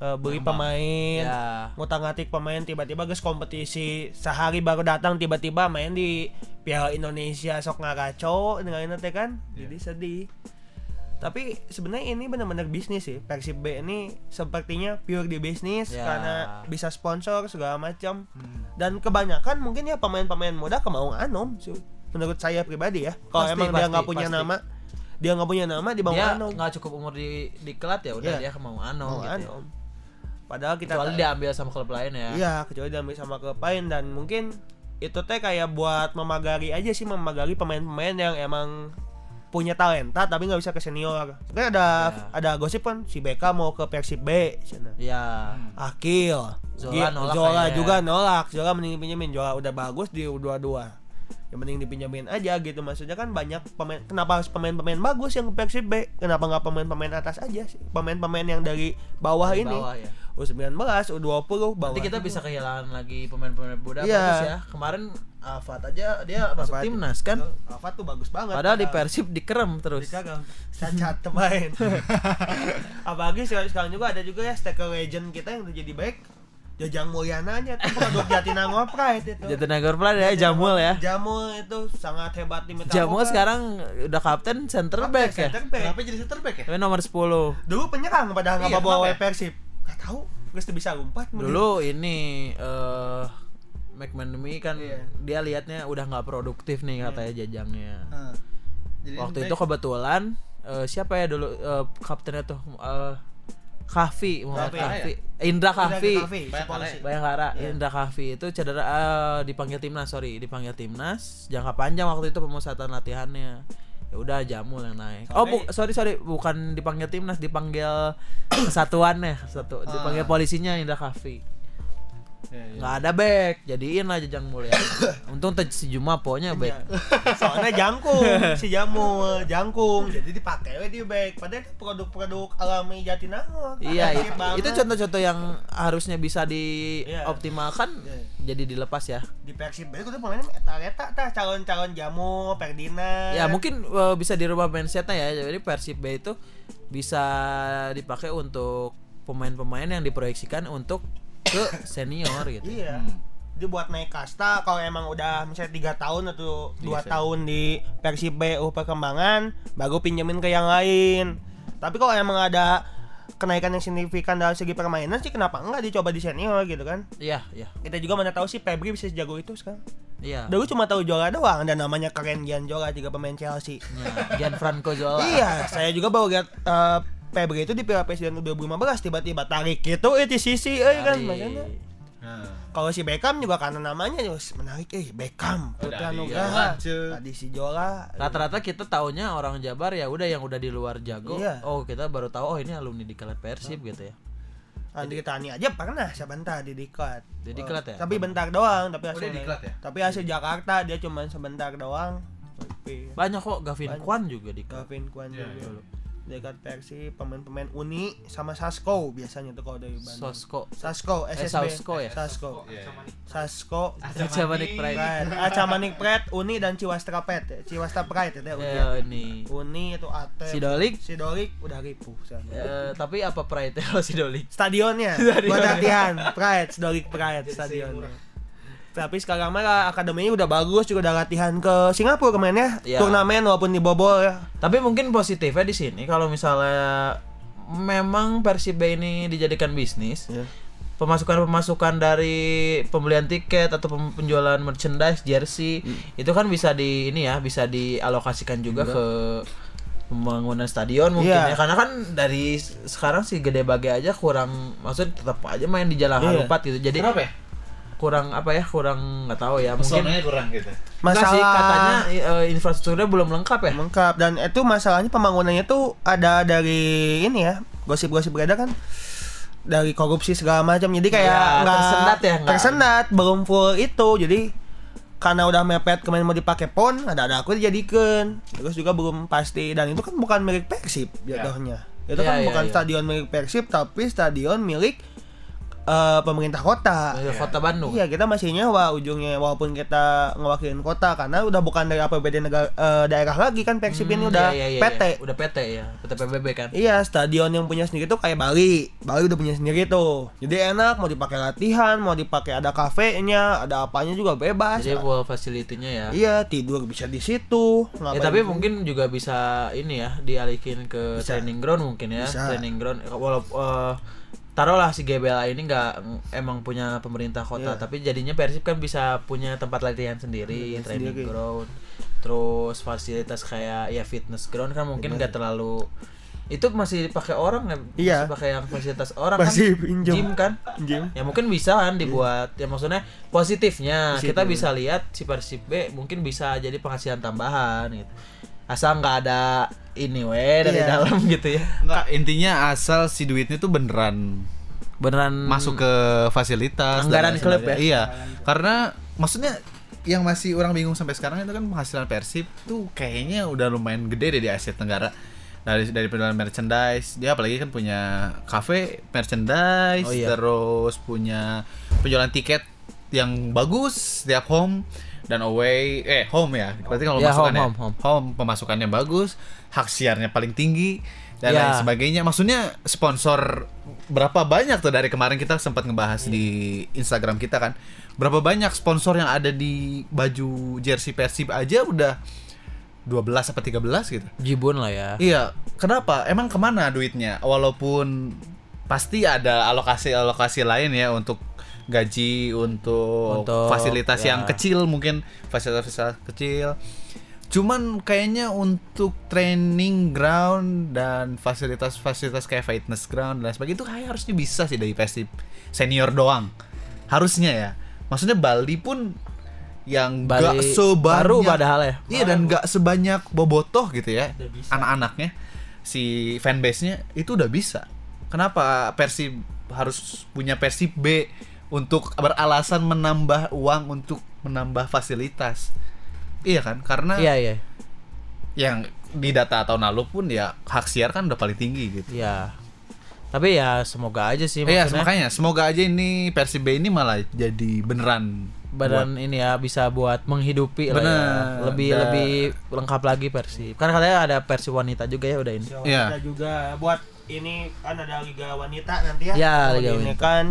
[SPEAKER 3] eh, beli pemain
[SPEAKER 1] Ya.
[SPEAKER 3] ngutang-ngatik pemain tiba-tiba guys kompetisi sehari baru datang tiba-tiba main di Piala Indonesia sok ngaco dengan teh kan
[SPEAKER 1] Iya.
[SPEAKER 3] jadi sedih tapi sebenarnya ini benar-benar bisnis sih Persib B ini sepertinya pure di bisnis
[SPEAKER 1] Ya. Hmm.
[SPEAKER 3] karena bisa sponsor segala macam dan kebanyakan mungkin ya pemain-pemain muda kemauan Anom sih menurut saya pribadi ya kalau
[SPEAKER 1] Pasti,
[SPEAKER 3] emang dia
[SPEAKER 1] pasti,
[SPEAKER 3] nggak punya
[SPEAKER 1] pasti.
[SPEAKER 3] nama dia nggak punya nama di bawah
[SPEAKER 1] dia
[SPEAKER 3] Anom
[SPEAKER 1] nggak cukup umur di diklat ya udah
[SPEAKER 3] Iya.
[SPEAKER 1] dia mau ano
[SPEAKER 3] Mau
[SPEAKER 1] gitu ya.
[SPEAKER 3] Anom padahal kita
[SPEAKER 1] kecuali diambil sama klub lain ya
[SPEAKER 3] Iya, kecuali diambil sama klub lain dan mungkin itu teh kayak buat memagari aja sih memagari pemain-pemain yang emang punya talenta tapi nggak bisa ke senior. Kan ada
[SPEAKER 1] Iya.
[SPEAKER 3] ada gosip kan si BK mau ke Persib B sana.
[SPEAKER 1] ya
[SPEAKER 3] Hmm. Akil,
[SPEAKER 1] Zola
[SPEAKER 3] Gil-
[SPEAKER 1] nolak
[SPEAKER 3] Zola
[SPEAKER 1] kayaknya.
[SPEAKER 3] juga nolak. Zola mending dipinjemin. Zola udah bagus di U22. Yang Ya mending dipinjemin aja gitu maksudnya kan banyak pemain kenapa harus pemain-pemain bagus yang ke Persib B? Kenapa nggak pemain-pemain atas aja sih? Pemain-pemain yang dari bawah
[SPEAKER 1] Dari
[SPEAKER 3] ini.
[SPEAKER 1] bawah ya.
[SPEAKER 3] U19, U20 bawah.
[SPEAKER 1] nanti kita bisa kehilangan lagi pemain-pemain muda
[SPEAKER 3] Iya.
[SPEAKER 1] bagus ya kemarin Afat aja dia masuk
[SPEAKER 3] Afat.
[SPEAKER 1] timnas kan
[SPEAKER 3] Apa tuh bagus banget.
[SPEAKER 1] padahal di Persib dikerem terus
[SPEAKER 3] Dicagang. Cacat pemain. Apalagi sekarang, sekarang juga ada juga ya stacker legend kita yang udah jadi baik. Jajang Mulyananya tuh produk Jatinangor Pride itu.
[SPEAKER 1] Jatinegara Plan ya Jamul ya
[SPEAKER 3] Iya, Jamul itu sangat hebat di Metallica.
[SPEAKER 1] Jamul sekarang udah kapten center back ya
[SPEAKER 3] Center back.
[SPEAKER 2] Kenapa jadi center back ya?
[SPEAKER 1] tapi nomor 10
[SPEAKER 3] Dulu penyerang padahal enggak
[SPEAKER 2] Iya, kenapa
[SPEAKER 3] bawa
[SPEAKER 2] ya?
[SPEAKER 3] Persib. Enggak tahu, geus teu bisa umpat.
[SPEAKER 1] dulu ini eh McManamy kan
[SPEAKER 3] Iya.
[SPEAKER 1] dia liatnya udah nggak produktif nih katanya jajangnya
[SPEAKER 2] Heeh. Nah,
[SPEAKER 3] Nah,
[SPEAKER 2] Jadi
[SPEAKER 1] waktu
[SPEAKER 2] back.
[SPEAKER 1] itu kebetulan eh, siapa ya dulu eh, kaptennya tuh eh Kafi Muhammad Kafi
[SPEAKER 3] Kafi.
[SPEAKER 1] Indra Kafi
[SPEAKER 2] Bayangkara ya?
[SPEAKER 1] Bayangkara Indra Kafi itu cedera eh, dipanggil timnas sorry dipanggil timnas jangka panjang waktu itu pemusatan latihannya ya udah Jamul yang naik oh bu- sorry sorry bukan dipanggil timnas dipanggil kesatuannya satu dipanggil polisinya Indra Kafi
[SPEAKER 2] Iya, iya.
[SPEAKER 1] nggak ada back jadiin aja Jang Mulia untung teh si Juma ponya back
[SPEAKER 3] Soalnya jangkung, si Jamul, jangkung. Jadi dipakai we di back. Padahal itu produk-produk alami Jatinangor.
[SPEAKER 1] Iya,
[SPEAKER 3] Asik
[SPEAKER 1] itu,
[SPEAKER 3] banget.
[SPEAKER 1] itu contoh-contoh yang harusnya bisa dioptimalkan
[SPEAKER 3] Iya.
[SPEAKER 1] jadi dilepas ya.
[SPEAKER 3] di Persib Bali kudu pemainnya eta-eta tah calon-calon jamu Ferdinand.
[SPEAKER 1] Ya mungkin eh, bisa dirubah mindsetnya ya. Jadi Persib B itu bisa dipakai untuk pemain-pemain yang diproyeksikan untuk ke senior gitu.
[SPEAKER 3] Iya. Dia buat naik kasta kalau emang udah misalnya tiga tahun atau
[SPEAKER 1] Iya,
[SPEAKER 3] dua
[SPEAKER 2] sih.
[SPEAKER 3] tahun di Persib BU perkembangan baru pinjemin ke yang lain. Tapi kalau emang ada kenaikan yang signifikan dari segi permainan sih kenapa enggak dicoba di senior gitu kan
[SPEAKER 1] Iya, iya.
[SPEAKER 3] kita juga mana tahu sih Febri bisa sejago itu sekarang
[SPEAKER 1] Iya.
[SPEAKER 3] dulu cuma tahu Jora doang dan namanya keren Gian Jora juga pemain Chelsea
[SPEAKER 1] Ya, Gianfranco Zola.
[SPEAKER 3] Iya, saya juga baru lihat eh, Febri itu di Piala Presiden 2015 tiba-tiba tarik gitu eh di sisi eh kan
[SPEAKER 1] Dari-
[SPEAKER 3] makanya
[SPEAKER 2] Nah.
[SPEAKER 3] Kalau si Beckham juga karena namanya juga menarik, eh Beckham, Putra
[SPEAKER 2] Dari
[SPEAKER 3] Nugraha,
[SPEAKER 2] Jola, cuy.
[SPEAKER 3] tadi si Jola,
[SPEAKER 1] Rata-rata kita taunya orang Jabar ya udah yang udah di luar jago.
[SPEAKER 3] Iya.
[SPEAKER 1] Oh, kita baru tahu oh ini alumni di Kelet Persib gitu ya.
[SPEAKER 3] Andri Nah, Tani aja pernah sebentar di Diklat.
[SPEAKER 1] Di Diklat ya?
[SPEAKER 3] Tapi bentar doang, tapi
[SPEAKER 2] Oh, dia Diklat ya?
[SPEAKER 3] Tapi hasil Jakarta dia cuman sebentar doang. Tapi
[SPEAKER 1] Banyak kok Gavin
[SPEAKER 3] Banyak.
[SPEAKER 1] Kwan juga di Kelet.
[SPEAKER 3] Gavin Kwan
[SPEAKER 2] Iya, iya,
[SPEAKER 3] juga. Dekat Persib, pemain-pemain Uni sama Sasko biasanya tuh kalau dari Bandung.
[SPEAKER 1] Sosko.
[SPEAKER 3] Sasko,
[SPEAKER 1] Eh,
[SPEAKER 3] SSB.
[SPEAKER 1] Sausko ya?
[SPEAKER 3] Sasko.
[SPEAKER 2] Iya.
[SPEAKER 3] Sasko.
[SPEAKER 1] Javanik Pride.
[SPEAKER 3] Pride, Acamanik Pride, Uni dan Ciwastra Pride, Ciwastra Pride itu ya Uni.
[SPEAKER 1] Ya ini.
[SPEAKER 3] Uni itu Atep.
[SPEAKER 1] Sidolik.
[SPEAKER 3] Sidolik udah ripuh sana.
[SPEAKER 1] Eh, tapi apa Pride kalau Sidolik?
[SPEAKER 3] Stadionnya buat latihan, Pride, Sidolik
[SPEAKER 2] Iya,
[SPEAKER 3] Pride stadionnya. Tapi sekarang mah akademinya udah bagus juga udah latihan ke Singapura kemarin ya.
[SPEAKER 1] Iya.
[SPEAKER 3] Turnamen walaupun dibobol ya.
[SPEAKER 1] Tapi mungkin positifnya di sini kalau misalnya memang Persib ini dijadikan bisnis, pemasukan-pemasukan dari pembelian tiket atau pem- penjualan merchandise jersey
[SPEAKER 3] Hmm.
[SPEAKER 1] itu kan bisa di ini ya bisa dialokasikan juga ke pembangunan stadion mungkin ya
[SPEAKER 3] Iya.
[SPEAKER 1] karena kan dari s- sekarang si gede bagi aja kurang maksud tetap aja main di jalan
[SPEAKER 3] Iya.
[SPEAKER 1] halupat gitu jadi
[SPEAKER 2] Kenapa ya?
[SPEAKER 1] kurang apa ya kurang nggak tahu ya mungkin
[SPEAKER 2] Pesonanya kurang gitu.
[SPEAKER 1] Enggak sih,
[SPEAKER 3] Masalah-
[SPEAKER 1] katanya i- eh, infrastrukturnya belum lengkap ya
[SPEAKER 3] Lengkap dan itu masalahnya pembangunannya tuh ada dari ini ya, gosip-gosip beredar kan dari korupsi segala macam. Jadi
[SPEAKER 1] Iya,
[SPEAKER 3] kayak nggak
[SPEAKER 1] tersendat ya, nggak-
[SPEAKER 3] tersendat, belum full itu. Jadi karena udah mepet kemarin mau dipakai pon, ada ada aku dijadikan. Terus juga belum pasti dan itu kan bukan milik Persib jatuhnya. Itu
[SPEAKER 1] Iya,
[SPEAKER 3] kan
[SPEAKER 1] iya,
[SPEAKER 3] bukan
[SPEAKER 1] iya.
[SPEAKER 3] stadion milik Persib tapi stadion milik eh, pemerintah kota.
[SPEAKER 1] kota Bandung
[SPEAKER 3] Iya kita masihnya wah ujungnya walaupun kita ngewakilin kota karena udah bukan dari APBD negara eh, daerah lagi kan Persib ini
[SPEAKER 1] Hmm,
[SPEAKER 3] udah
[SPEAKER 1] iya, iya, iya,
[SPEAKER 3] PT.
[SPEAKER 1] iya. udah PT ya PT PBB kan
[SPEAKER 3] Iya stadion yang punya sendiri tuh kayak Bali, Bali udah punya sendiri tuh. Jadi enak mau dipakai latihan, mau dipakai ada kafenya, ada apanya juga bebas.
[SPEAKER 1] jadi full facility-nya ya
[SPEAKER 3] Iya tidur bisa di situ.
[SPEAKER 1] Ya,
[SPEAKER 3] ngapain
[SPEAKER 1] tapi
[SPEAKER 3] pun.
[SPEAKER 1] mungkin juga bisa ini ya dialihin ke
[SPEAKER 3] Bisa.
[SPEAKER 1] training ground mungkin ya
[SPEAKER 3] Bisa.
[SPEAKER 1] training ground walaupun taruhlah si GBLA ini nggak emang punya pemerintah kota
[SPEAKER 3] Iya.
[SPEAKER 1] tapi jadinya Persib kan bisa punya tempat latihan sendiri
[SPEAKER 3] Latihan
[SPEAKER 1] training
[SPEAKER 3] Iya, sendiri.
[SPEAKER 1] ground terus fasilitas kayak ya fitness ground kan mungkin nggak terlalu itu masih pakai orang ya
[SPEAKER 3] Iya.
[SPEAKER 1] masih pakai yang fasilitas orang
[SPEAKER 3] Masih
[SPEAKER 1] kan
[SPEAKER 3] pinjam.
[SPEAKER 1] gym kan
[SPEAKER 3] Gym.
[SPEAKER 1] ya mungkin bisa kan dibuat ya maksudnya positifnya kita bisa lihat si Persib B mungkin bisa jadi penghasilan tambahan gitu asal nggak ada ini weh dari
[SPEAKER 3] Iya.
[SPEAKER 1] dalam gitu ya
[SPEAKER 2] Enggak, intinya asal si duitnya tuh beneran
[SPEAKER 1] beneran
[SPEAKER 2] masuk ke fasilitas dan
[SPEAKER 1] Anggaran
[SPEAKER 2] lain
[SPEAKER 1] klub ya?
[SPEAKER 2] sebagainya. Iya. Karena maksudnya yang masih orang bingung sampai sekarang itu kan penghasilan Persib tuh kayaknya udah lumayan gede deh di Asia Tenggara. Dari dari penjualan merchandise, dia apalagi kan punya kafe merchandise,
[SPEAKER 1] Oh, iya.
[SPEAKER 2] terus punya penjualan tiket yang bagus setiap home dan away eh home ya. Berarti kalau
[SPEAKER 1] Ya,
[SPEAKER 2] pemasukannya-
[SPEAKER 1] home, home,
[SPEAKER 2] home Oh, pemasukannya bagus, hak siarnya paling tinggi dan
[SPEAKER 1] Ya.
[SPEAKER 2] lain sebagainya. Maksudnya sponsor berapa banyak tuh dari kemarin kita sempat ngebahas di Instagram kita kan. Berapa banyak sponsor yang ada di baju jersey Persib aja udah 12 apa 13 gitu.
[SPEAKER 1] jibun lah ya
[SPEAKER 2] Iya, kenapa? Emang kemana duitnya? Walaupun pasti ada alokasi-alokasi lain ya untuk gaji, untuk,
[SPEAKER 1] Untuk,
[SPEAKER 2] fasilitas
[SPEAKER 1] ya.
[SPEAKER 2] yang kecil mungkin fasilitas-fasilitas kecil. Cuman kayaknya untuk training ground dan fasilitas-fasilitas kayak fitness ground dan lain sebagainya itu kayak harusnya bisa sih dari Persib senior doang. Harusnya ya. Maksudnya Bali pun yang
[SPEAKER 1] Bali
[SPEAKER 2] gak sebanyak
[SPEAKER 1] baru padahal ya?
[SPEAKER 2] Iya dan nggak sebanyak bobotoh gitu ya anak-anaknya si fanbase-nya itu udah bisa. Kenapa Persib harus punya Persib B untuk beralasan menambah uang untuk menambah fasilitas? Iya kan? Karena
[SPEAKER 1] iya iya
[SPEAKER 2] yang di data tahun lalu pun ya hak siar kan udah paling tinggi gitu.
[SPEAKER 1] iya tapi ya semoga aja sih
[SPEAKER 2] Iya,
[SPEAKER 1] maksudnya
[SPEAKER 2] makanya semoga aja ini Persib B ini malah jadi beneran buat-
[SPEAKER 1] badan ini ya bisa buat menghidupi lah ya.
[SPEAKER 2] Bener.
[SPEAKER 1] lebih
[SPEAKER 2] Da-
[SPEAKER 1] lebih lengkap lagi Persib karena katanya ada versi wanita juga ya udah ini
[SPEAKER 3] Bisa
[SPEAKER 2] Iya.
[SPEAKER 3] wanita juga buat ini kan ada liga wanita nanti ya.
[SPEAKER 1] Iya,
[SPEAKER 3] Kalau
[SPEAKER 1] liga
[SPEAKER 3] di ini
[SPEAKER 1] wanita.
[SPEAKER 3] kan.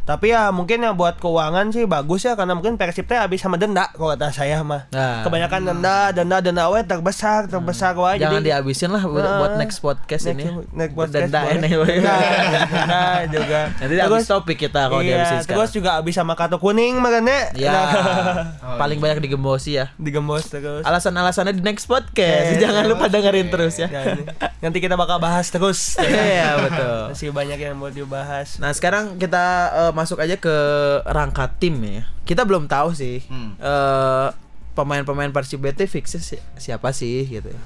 [SPEAKER 3] Tapi ya mungkin ya buat keuangan sih bagus ya karena mungkin Persib teh habis sama denda kalau kata saya mah.
[SPEAKER 1] Nah.
[SPEAKER 3] Kebanyakan denda, denda, denda we terbesar, terbesar wae
[SPEAKER 1] jangan
[SPEAKER 3] Iya, jadi
[SPEAKER 1] dihabisin lah buat,
[SPEAKER 3] Nah,
[SPEAKER 1] buat next podcast ini ya.
[SPEAKER 3] next podcast Nah.
[SPEAKER 1] Denda
[SPEAKER 3] boleh.
[SPEAKER 1] ini.
[SPEAKER 3] Denda, denda juga.
[SPEAKER 1] Nanti habis topik kita kalau
[SPEAKER 3] iya,
[SPEAKER 1] dihabisin sekarang.
[SPEAKER 3] terus juga habis sama kartu kuning makanya.
[SPEAKER 1] Ya,
[SPEAKER 3] Nah,
[SPEAKER 1] paling banyak digembosi ya.
[SPEAKER 3] digembos terus.
[SPEAKER 1] Alasan-alasannya di next podcast.
[SPEAKER 3] Eh,
[SPEAKER 1] Jangan
[SPEAKER 3] terus.
[SPEAKER 1] lupa dengerin terus ya.
[SPEAKER 3] Dan Nah, nanti kita bakal bahas terus.
[SPEAKER 1] Iya, betul.
[SPEAKER 3] Masih banyak yang mau dibahas.
[SPEAKER 1] Nah, sekarang kita eh, eh, masuk aja ke rangka tim ya. Kita belum tahu sih
[SPEAKER 2] Hmm.
[SPEAKER 1] eh, pemain-pemain Persib BT fixnya si- siapa sih gitu. ya.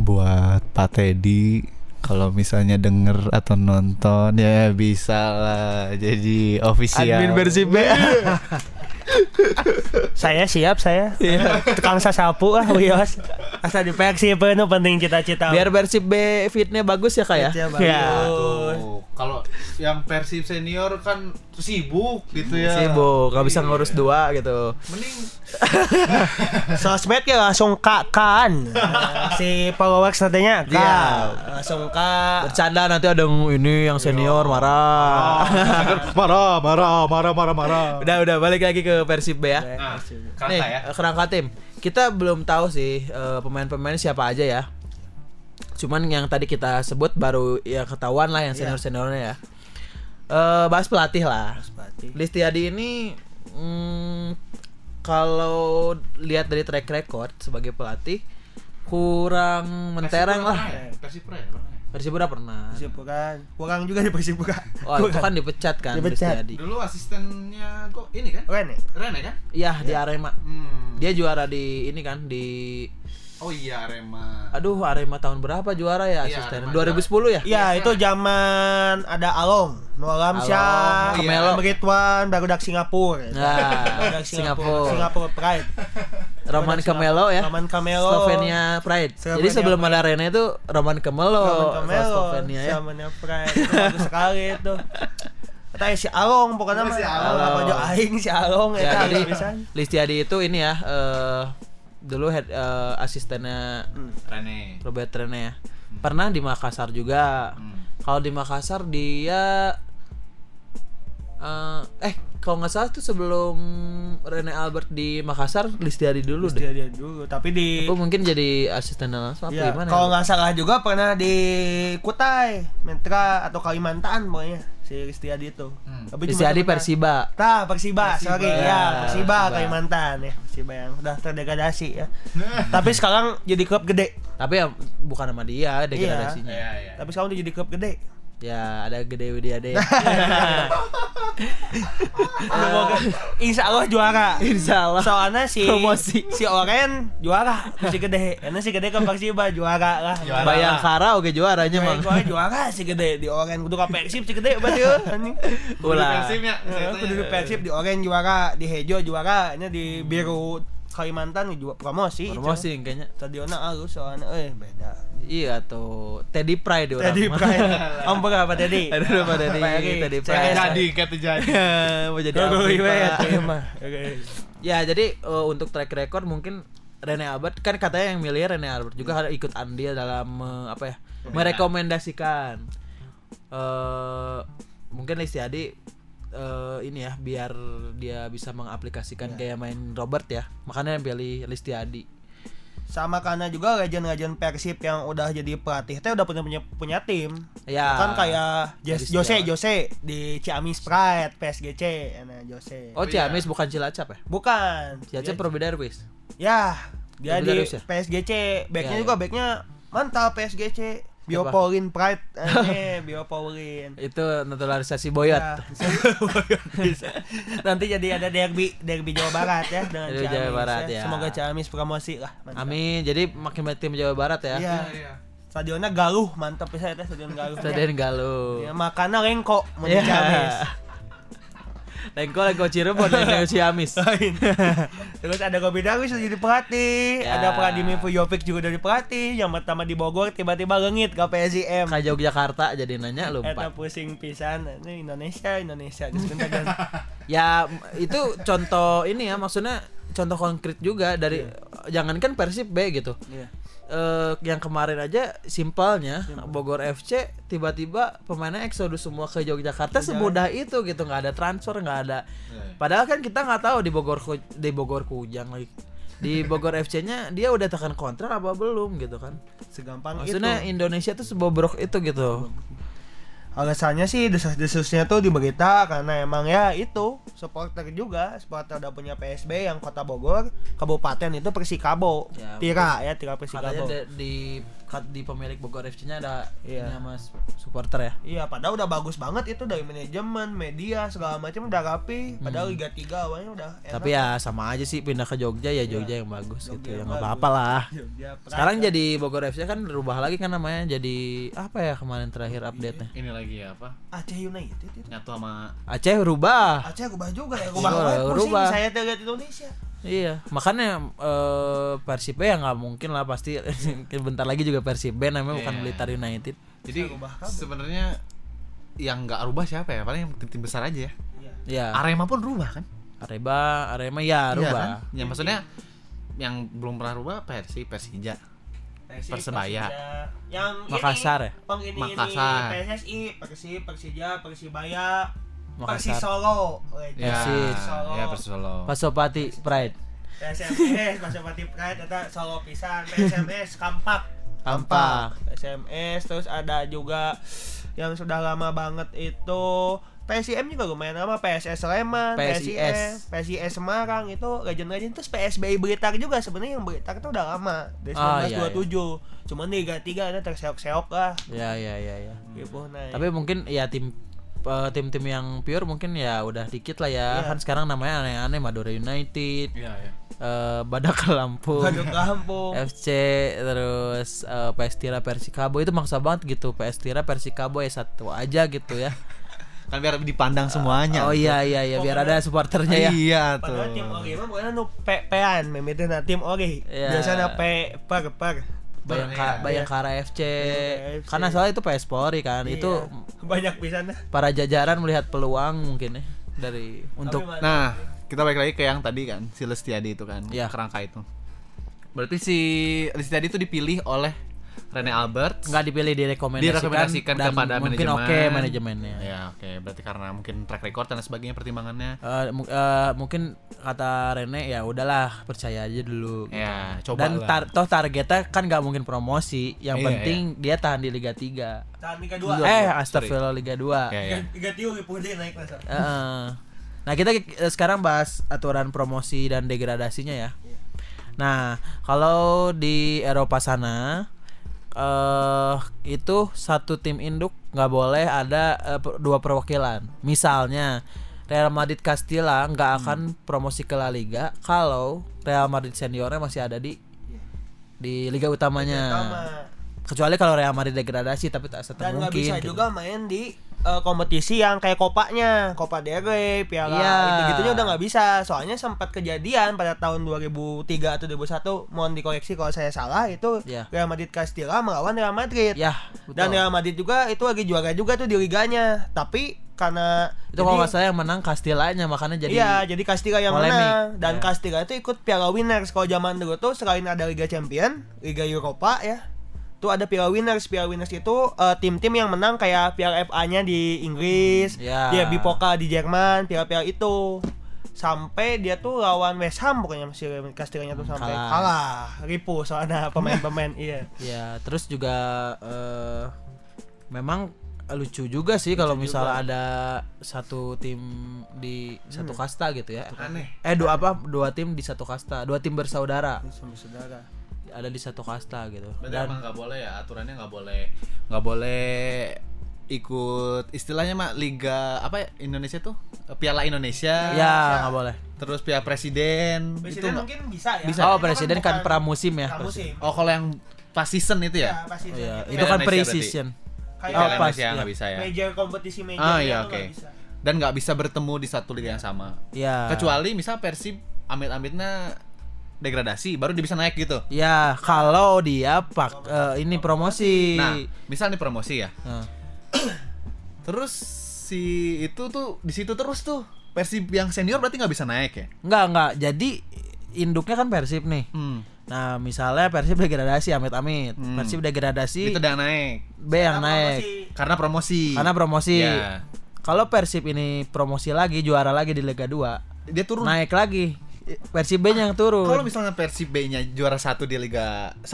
[SPEAKER 2] buat Pak Teddy kalau misalnya denger atau nonton ya bisa lah jadi official
[SPEAKER 1] Admin Persib B.
[SPEAKER 3] Saya siap saya. Tukang sasapu ah Wios. Asal di Persib penuh penting cita-cita.
[SPEAKER 1] Biar Persib B Ya. fitnya bagus ya kak ya.
[SPEAKER 4] Iya,
[SPEAKER 3] Ya.
[SPEAKER 2] Tuh, kalau yang Persib senior kan sibuk gitu ya
[SPEAKER 1] Sibuk, nggak bisa
[SPEAKER 2] Iya.
[SPEAKER 1] ngurus dua gitu.
[SPEAKER 2] mending
[SPEAKER 3] Sosmed ya langsung kakan. si followers nantinya kak.
[SPEAKER 1] Iya.
[SPEAKER 3] Langsung kak.
[SPEAKER 1] Bercanda nanti ada yang ini yang senior marah.
[SPEAKER 2] marah marah marah marah marah
[SPEAKER 1] udah udah balik lagi ke Persib B ya.
[SPEAKER 2] nah,
[SPEAKER 1] Nih,
[SPEAKER 2] kerangka ya
[SPEAKER 1] eh, kerangka tim. Kita belum tahu sih eh, pemain-pemain siapa aja ya. Cuman yang tadi kita sebut baru ya ketahuan lah yang
[SPEAKER 2] Iya.
[SPEAKER 1] senior-seniornya ya. Eh bahas pelatih lah. Listiadi ini mm, kalau lihat dari track record sebagai pelatih kurang mentereng
[SPEAKER 2] Persipura
[SPEAKER 1] lah.
[SPEAKER 2] pernah ya? Persipura ya pernah ya?
[SPEAKER 1] Persipura pernah.
[SPEAKER 3] Persibukan. Kurang juga di Persibukan.
[SPEAKER 1] Oh, itu kan dipecat kan
[SPEAKER 3] Dipecat.
[SPEAKER 1] Listiadi.
[SPEAKER 2] dulu asistennya kok ini kan
[SPEAKER 3] Keren ya?
[SPEAKER 2] Rene kan
[SPEAKER 1] Iya, di Arema.
[SPEAKER 2] hmm.
[SPEAKER 1] Dia juara di ini kan di
[SPEAKER 2] oh iya Arema
[SPEAKER 1] aduh Arema tahun berapa juara ya
[SPEAKER 2] Iya,
[SPEAKER 1] asisten?
[SPEAKER 2] Arema
[SPEAKER 1] 2010 ya?
[SPEAKER 3] Iya, itu zaman ada Along, iya. Noalam Syah,
[SPEAKER 1] Along,
[SPEAKER 2] Kemelo.
[SPEAKER 3] Kemelo Ridwan, Barudak Singapura.
[SPEAKER 1] Nah,
[SPEAKER 3] Barudak
[SPEAKER 1] Singapura.
[SPEAKER 3] Singapura Pride.
[SPEAKER 1] Roman
[SPEAKER 3] Barudak
[SPEAKER 1] Kemelo ya.
[SPEAKER 3] Roman Kemelo.
[SPEAKER 1] Slovenia Pride. Jadi
[SPEAKER 3] Slovenia
[SPEAKER 1] sebelum ada Rene itu Roman Kemelo,
[SPEAKER 3] Roman
[SPEAKER 1] sama
[SPEAKER 3] Kemelo.
[SPEAKER 1] Slovenia Oh, ya.
[SPEAKER 3] Zamannya Pride. Itu Bagus sekali itu. Kata si Along pokoknya
[SPEAKER 2] Oh,
[SPEAKER 3] mah.
[SPEAKER 2] si
[SPEAKER 3] Si
[SPEAKER 2] Along.
[SPEAKER 3] Along apa aja aing si kan? Along
[SPEAKER 1] Ya,
[SPEAKER 3] eta
[SPEAKER 1] jadi
[SPEAKER 3] pisan.
[SPEAKER 1] Listiadi itu ini ya eh, dulu head eh, asistennya
[SPEAKER 2] Rene
[SPEAKER 1] Robert Rene ya. Pernah di Makassar juga.
[SPEAKER 2] Hmm.
[SPEAKER 1] Kalau di Makassar dia eh, eh kalau nggak salah tuh sebelum Rene Albert di Makassar Listiadi dulu
[SPEAKER 3] Terus
[SPEAKER 1] deh.
[SPEAKER 3] dia dia dulu, tapi di
[SPEAKER 1] Aku mungkin jadi asisten langsung apa
[SPEAKER 3] Ya,
[SPEAKER 1] gimana? ya?
[SPEAKER 3] kalau nggak salah juga pernah di Kutai, Mentra atau Kalimantan pokoknya si Ristiadi itu.
[SPEAKER 2] Hmm.
[SPEAKER 3] Tapi cuma
[SPEAKER 1] Listiadi
[SPEAKER 3] sebentar.
[SPEAKER 1] Persiba.
[SPEAKER 3] Tah, Persiba,
[SPEAKER 2] Persiba.
[SPEAKER 3] sorry ya, Persiba,
[SPEAKER 1] Persiba.
[SPEAKER 3] Kalimantan ya, Persiba yang udah terdegradasi ya. Tapi sekarang jadi klub gede.
[SPEAKER 1] Tapi ya bukan sama dia degradasinya.
[SPEAKER 2] Iya, iya.
[SPEAKER 3] Tapi sekarang udah jadi klub gede.
[SPEAKER 1] Ya ada gede dia deh.
[SPEAKER 3] Iya.
[SPEAKER 1] Ah.
[SPEAKER 3] Semoga Insya Allah juara.
[SPEAKER 1] Insya Allah.
[SPEAKER 3] Soalnya si
[SPEAKER 1] Promosi.
[SPEAKER 3] si Oren juara, si gede. Karena si gede ke Persiba juara lah.
[SPEAKER 2] Juara.
[SPEAKER 1] Bayangkara oke juaranya
[SPEAKER 3] Juara,
[SPEAKER 1] mang.
[SPEAKER 3] juara, juara si gede di Oren kudu ke Persib si gede berarti ya, anjing.
[SPEAKER 1] Ulah.
[SPEAKER 2] Persibnya
[SPEAKER 3] Eh, Kudu di Persib di Oren juara, di Hejo juara, nya di Biru Kalimantan juga promosi.
[SPEAKER 1] Promosi kayaknya.
[SPEAKER 3] Stadionnya halus soalnya, eh beda.
[SPEAKER 1] Iya atau Teddy Pride orang.
[SPEAKER 3] Teddy
[SPEAKER 1] mah.
[SPEAKER 3] Pride. Om apa Teddy?
[SPEAKER 1] Aduh, apa Teddy? Teddy Pride.
[SPEAKER 2] Kayak jadi kata jadi
[SPEAKER 1] Iya, Mau jadi apa, ya, Pak?
[SPEAKER 3] Oke.
[SPEAKER 1] Ya jadi eh, untuk track record mungkin Rene Albert kan katanya yang milih Rene Albert juga harus ikut andil dalam eh, apa ya merekomendasikan eh mungkin Listiadi eh, ini ya biar dia bisa mengaplikasikan gaya main Robert ya makanya yang pilih Listiadi
[SPEAKER 3] Sama karena juga legend-legend Persib yang udah jadi pelatih teh udah punya punya punya tim.
[SPEAKER 1] Ya.
[SPEAKER 3] Kan kayak Jes-
[SPEAKER 1] Jadi
[SPEAKER 3] Jose
[SPEAKER 1] sejauh.
[SPEAKER 3] Jose di Ciamis Pride PSGC nah Jose.
[SPEAKER 1] oh Ciamis bukan Cilacap ya
[SPEAKER 3] Bukan.
[SPEAKER 1] Cilacap Robert Darwis
[SPEAKER 3] Ya, dia
[SPEAKER 1] Lebih
[SPEAKER 3] di
[SPEAKER 1] bagus ya?
[SPEAKER 3] PSGC. Backnya
[SPEAKER 1] Ya, ya.
[SPEAKER 3] juga backnya mantap PSGC. Biopolin Pride, eh, Biopolin.
[SPEAKER 1] itu naturalisasi Boyot
[SPEAKER 3] Ya, bisa. Nanti jadi ada derby, derby Jawa Barat ya dengan
[SPEAKER 1] Derby Jawa
[SPEAKER 3] Ciamis.
[SPEAKER 1] Barat, ya.
[SPEAKER 3] Semoga Ciamis promosi lah. mantap.
[SPEAKER 1] Amin jadi makin banyak tim Jawa Barat ya
[SPEAKER 3] Iya. Stadionnya Galuh, mantap bisa ya stadion Galuh.
[SPEAKER 1] Stadion Galuh
[SPEAKER 3] Ya, makannya lengko mau di
[SPEAKER 1] Iya.
[SPEAKER 3] Ciamis.
[SPEAKER 1] Lengko Lengko Cirebon Lengko Ciamis.
[SPEAKER 3] Terus ada Gobi Darwis jadi pelatih,
[SPEAKER 1] Ya.
[SPEAKER 3] ada Pradimi Pujovic juga dari pelatih, yang pertama di Bogor tiba-tiba lengit ke PSIM.
[SPEAKER 1] Ke Yogyakarta jadi nanya lupa.
[SPEAKER 3] Eta pusing pisan, ini Indonesia, Indonesia. Terus bentar, dan
[SPEAKER 1] Ya m- itu contoh ini ya maksudnya contoh konkret juga dari jangankan Persib B gitu.
[SPEAKER 3] Iya.
[SPEAKER 1] Eh, yang kemarin aja simpelnya Bogor FC tiba-tiba pemainnya eksodus semua ke Yogyakarta semudah itu gitu nggak ada transfer nggak ada
[SPEAKER 2] Iya.
[SPEAKER 1] padahal kan kita nggak tahu di Bogor Ku- di Bogor Kujang lagi di Bogor FC-nya dia udah tekan kontrak apa belum gitu kan
[SPEAKER 3] segampang
[SPEAKER 1] maksudnya
[SPEAKER 3] itu.
[SPEAKER 1] Indonesia tuh sebobrok itu gitu
[SPEAKER 3] Alasannya sih desas-desusnya tuh di berita karena emang ya itu supporter juga, supporter udah punya PSB yang Kota Bogor, kabupaten itu Persikabo.
[SPEAKER 1] Ya,
[SPEAKER 3] Tira ya, Tira
[SPEAKER 1] katanya
[SPEAKER 3] Persikabo.
[SPEAKER 1] di, di
[SPEAKER 4] hat di pemilik Bogor FC-nya ada
[SPEAKER 3] Iya.
[SPEAKER 4] ini sama su- supporter ya.
[SPEAKER 3] Iya, padahal udah bagus banget itu dari manajemen, media segala macam udah rapi. Padahal Liga 3 awalnya udah enak.
[SPEAKER 1] Hmm. Tapi ya sama aja sih pindah ke Jogja ya Jogja yang bagus
[SPEAKER 3] Jogja
[SPEAKER 1] gitu ya
[SPEAKER 3] yang
[SPEAKER 1] nggak
[SPEAKER 3] bagus.
[SPEAKER 1] apa-apa lah.
[SPEAKER 3] Jogja, Pride.
[SPEAKER 1] Sekarang jadi Bogor FC kan berubah lagi kan namanya jadi apa ya kemarin terakhir update-nya?
[SPEAKER 2] Ini lagi ya, apa?
[SPEAKER 3] Aceh United itu.
[SPEAKER 2] Nyatu sama
[SPEAKER 1] Aceh berubah.
[SPEAKER 3] Aceh rubah juga ya, rubah
[SPEAKER 1] Iya, Rubah,
[SPEAKER 3] banget pusing
[SPEAKER 1] rubah.
[SPEAKER 3] saya tuh lihat Indonesia.
[SPEAKER 1] Iya, makanya eh Persib ya nggak mungkin lah pasti bentar lagi juga Persib namanya bukan
[SPEAKER 2] Iya.
[SPEAKER 1] Blitar United.
[SPEAKER 2] Jadi sebenarnya yang nggak rubah siapa ya? Paling yang tim-tim besar aja ya.
[SPEAKER 1] Iya.
[SPEAKER 2] Arema pun rubah kan?
[SPEAKER 1] Arema, Arema ya
[SPEAKER 2] Iya
[SPEAKER 1] rubah.
[SPEAKER 2] kan? Ya maksudnya yang belum pernah rubah Persi, Persija.
[SPEAKER 3] Persib,
[SPEAKER 2] Persebaya.
[SPEAKER 3] Persija. Yang
[SPEAKER 1] Makassar ya?
[SPEAKER 3] ini, peng ini,
[SPEAKER 2] Makassar.
[SPEAKER 3] ini PSSI, Persib, Persija, Persibaya,
[SPEAKER 1] Makassar. Iya,
[SPEAKER 3] Persis Solo. Legend.
[SPEAKER 2] Ya,
[SPEAKER 1] Persis.
[SPEAKER 3] Solo.
[SPEAKER 2] ya Persis Solo.
[SPEAKER 1] Pasopati Pride.
[SPEAKER 3] PSMS, Pasopati Pride, ada Solo Pisan, PSMS, Kampak.
[SPEAKER 1] Kampak.
[SPEAKER 3] PSMS, terus ada juga yang sudah lama banget itu PSIM juga lumayan lama, PSS Sleman,
[SPEAKER 1] PSIS.
[SPEAKER 3] PSIS, PSIS Semarang itu legend-legend terus PSBI Blitar juga sebenarnya yang Blitar itu udah lama dari
[SPEAKER 1] Ah,
[SPEAKER 3] 1927. Cuman Liga 3 ada terseok-seok lah.
[SPEAKER 1] Ya ya ya ya.
[SPEAKER 3] Gitu nah.
[SPEAKER 1] Tapi mungkin ya tim eh, tim-tim yang pure mungkin ya udah dikit lah ya. Kan sekarang namanya aneh-aneh Madura United,
[SPEAKER 2] Iya, iya.
[SPEAKER 1] eh, Badak Lampung,
[SPEAKER 3] Baduk Lampung.
[SPEAKER 1] FC terus eh, PS Tira Persikabo itu maksa banget gitu. PS Tira Persikabo ya satu aja gitu ya.
[SPEAKER 2] Kan biar dipandang semuanya.
[SPEAKER 1] Oh iya iya iya biar ada supporternya ya.
[SPEAKER 2] Iya tuh.
[SPEAKER 3] Padahal tim Ori mah bukan anu pe-pean, memitin tim Ori.
[SPEAKER 1] Iya.
[SPEAKER 3] Biasanya pe per per.
[SPEAKER 1] Bayangkara, Bayangkara FC.
[SPEAKER 3] Bayangkara FC.
[SPEAKER 1] Karena soalnya itu PS Polri kan. Itu
[SPEAKER 3] Iya. banyak pisan dah.
[SPEAKER 1] para jajaran melihat peluang mungkin ya dari untuk
[SPEAKER 3] Tapi mana-
[SPEAKER 2] Nah, kita balik lagi ke yang tadi kan, si Lestiadi itu kan,
[SPEAKER 1] Iya.
[SPEAKER 2] kerangka itu. Berarti si Lestiadi itu dipilih oleh Rene Albert
[SPEAKER 1] nggak dipilih direkomendasikan,
[SPEAKER 2] direkomendasikan
[SPEAKER 1] dan
[SPEAKER 2] kepada
[SPEAKER 1] mungkin
[SPEAKER 2] manajemen.
[SPEAKER 1] oke manajemennya.
[SPEAKER 2] Ya, oke. Berarti karena mungkin track record dan lain sebagainya pertimbangannya.
[SPEAKER 1] Eh, mu- eh, mungkin kata Rene ya udahlah percaya aja dulu. gitu.
[SPEAKER 2] Ya, coba
[SPEAKER 1] Dan
[SPEAKER 2] lah.
[SPEAKER 1] tar- toh targetnya kan nggak mungkin promosi, yang
[SPEAKER 2] Iya,
[SPEAKER 1] penting dia tahan di Liga 3.
[SPEAKER 3] Tahan Liga 2.
[SPEAKER 1] eh,
[SPEAKER 2] sorry.
[SPEAKER 1] astagfirullah Liga 2.
[SPEAKER 2] Ya, ya.
[SPEAKER 3] Liga Tiu Puding naik masa.
[SPEAKER 1] Heeh. Nah kita eh, sekarang bahas aturan promosi dan degradasinya ya. Nah kalau di Eropa sana eh itu satu tim induk nggak boleh ada eh, per- dua perwakilan. Misalnya Real Madrid Castilla
[SPEAKER 3] Hmm.
[SPEAKER 1] nggak akan promosi ke La Liga kalau Real Madrid seniornya masih ada di di liga utamanya.
[SPEAKER 3] Pertama.
[SPEAKER 1] Kecuali kalau Real Madrid degradasi tapi tak serta
[SPEAKER 3] Nah, Dan nggak
[SPEAKER 1] mungkin.
[SPEAKER 3] bisa
[SPEAKER 1] gitu.
[SPEAKER 3] juga main di eh, kompetisi yang kayak kopaknya, Copa del Rey, Piala
[SPEAKER 1] Iya.
[SPEAKER 3] gitu-gitunya udah nggak bisa. Soalnya sempat kejadian pada tahun 2003 atau 2001, mohon dikoreksi kalau saya salah, itu
[SPEAKER 1] Iya.
[SPEAKER 3] Real Madrid Castilla melawan Real Madrid.
[SPEAKER 1] Yah,
[SPEAKER 3] Dan
[SPEAKER 1] Ya, betul.
[SPEAKER 3] Real Madrid juga itu lagi juara juga tuh di liganya. Tapi karena
[SPEAKER 1] itu kalau nggak salah yang menang Castilla-nya makanya jadi
[SPEAKER 3] iya, jadi Castilla yang
[SPEAKER 1] polemik.
[SPEAKER 3] menang dan
[SPEAKER 1] Iya.
[SPEAKER 3] Castilla itu ikut Piala Winners kalau zaman dulu tuh selain ada Liga Champion, Liga Eropa ya. Tuh ada Piala Winners. Piala Winners itu eh, tim-tim yang menang kayak Piala FA-nya di Inggris,
[SPEAKER 1] Iya.
[SPEAKER 3] dia Bipoka di Jerman, piala-piala itu sampai dia tuh lawan West Ham pokoknya masih Castilla-nya tuh sampai
[SPEAKER 1] kalah.
[SPEAKER 3] kalah, ripu soalnya pemain-pemain iya.
[SPEAKER 1] Ya, terus juga eh memang lucu juga sih kalau misalnya ada satu tim di satu kasta gitu ya.
[SPEAKER 2] Aneh.
[SPEAKER 1] Eh dua apa? Dua tim di satu kasta, dua tim bersaudara
[SPEAKER 3] Sama saudara.
[SPEAKER 1] ada di satu kasta gitu.
[SPEAKER 2] Berarti
[SPEAKER 1] Dan
[SPEAKER 2] emang nggak boleh ya aturannya nggak boleh nggak boleh ikut istilahnya mak liga apa ya, Indonesia tuh Piala Indonesia
[SPEAKER 1] ya nggak boleh.
[SPEAKER 2] terus Piala Presiden, itu
[SPEAKER 3] Presiden
[SPEAKER 2] nggak-
[SPEAKER 3] mungkin bisa ya.
[SPEAKER 1] oh, presiden kan, pramusim ya.
[SPEAKER 3] pramusim.
[SPEAKER 2] oh kalau yang pas season itu
[SPEAKER 3] Ya,
[SPEAKER 2] ya,
[SPEAKER 3] pasti
[SPEAKER 1] Oh, iya.
[SPEAKER 2] Piala
[SPEAKER 1] Itu kan
[SPEAKER 2] Indonesia
[SPEAKER 1] pre-season.
[SPEAKER 3] Kayak
[SPEAKER 1] Oh,
[SPEAKER 2] Piala
[SPEAKER 1] pas,
[SPEAKER 2] Indonesia
[SPEAKER 1] ya.
[SPEAKER 2] nggak bisa ya
[SPEAKER 3] major kompetisi major
[SPEAKER 2] ah
[SPEAKER 3] itu
[SPEAKER 2] ya
[SPEAKER 3] nggak
[SPEAKER 2] oke
[SPEAKER 3] bisa.
[SPEAKER 2] dan nggak bisa bertemu di satu liga yang sama
[SPEAKER 1] Ya.
[SPEAKER 2] kecuali misal Persib amit-amitnya degradasi baru dia bisa naik gitu
[SPEAKER 1] Ya, kalau dia pak eh, ini promosi.
[SPEAKER 2] nah misal nih promosi ya
[SPEAKER 1] Nah.
[SPEAKER 2] terus si itu tuh di situ terus tuh Persib yang senior berarti nggak bisa naik ya
[SPEAKER 1] Enggak, enggak. Jadi induknya kan Persib nih.
[SPEAKER 2] hmm.
[SPEAKER 1] Nah, misalnya Persib degradasi, amit-amit.
[SPEAKER 2] Hmm.
[SPEAKER 1] Persib degradasi,
[SPEAKER 2] itu udah naik
[SPEAKER 1] B yang
[SPEAKER 3] Karena
[SPEAKER 1] naik
[SPEAKER 3] promosi.
[SPEAKER 2] karena promosi
[SPEAKER 1] karena promosi.
[SPEAKER 2] Ya.
[SPEAKER 1] Kalau Persib ini promosi lagi, juara lagi di Liga 2,
[SPEAKER 2] dia turun
[SPEAKER 1] naik lagi. Persib B yang turun.
[SPEAKER 2] kalau misalnya Persib B-nya juara satu di Liga 1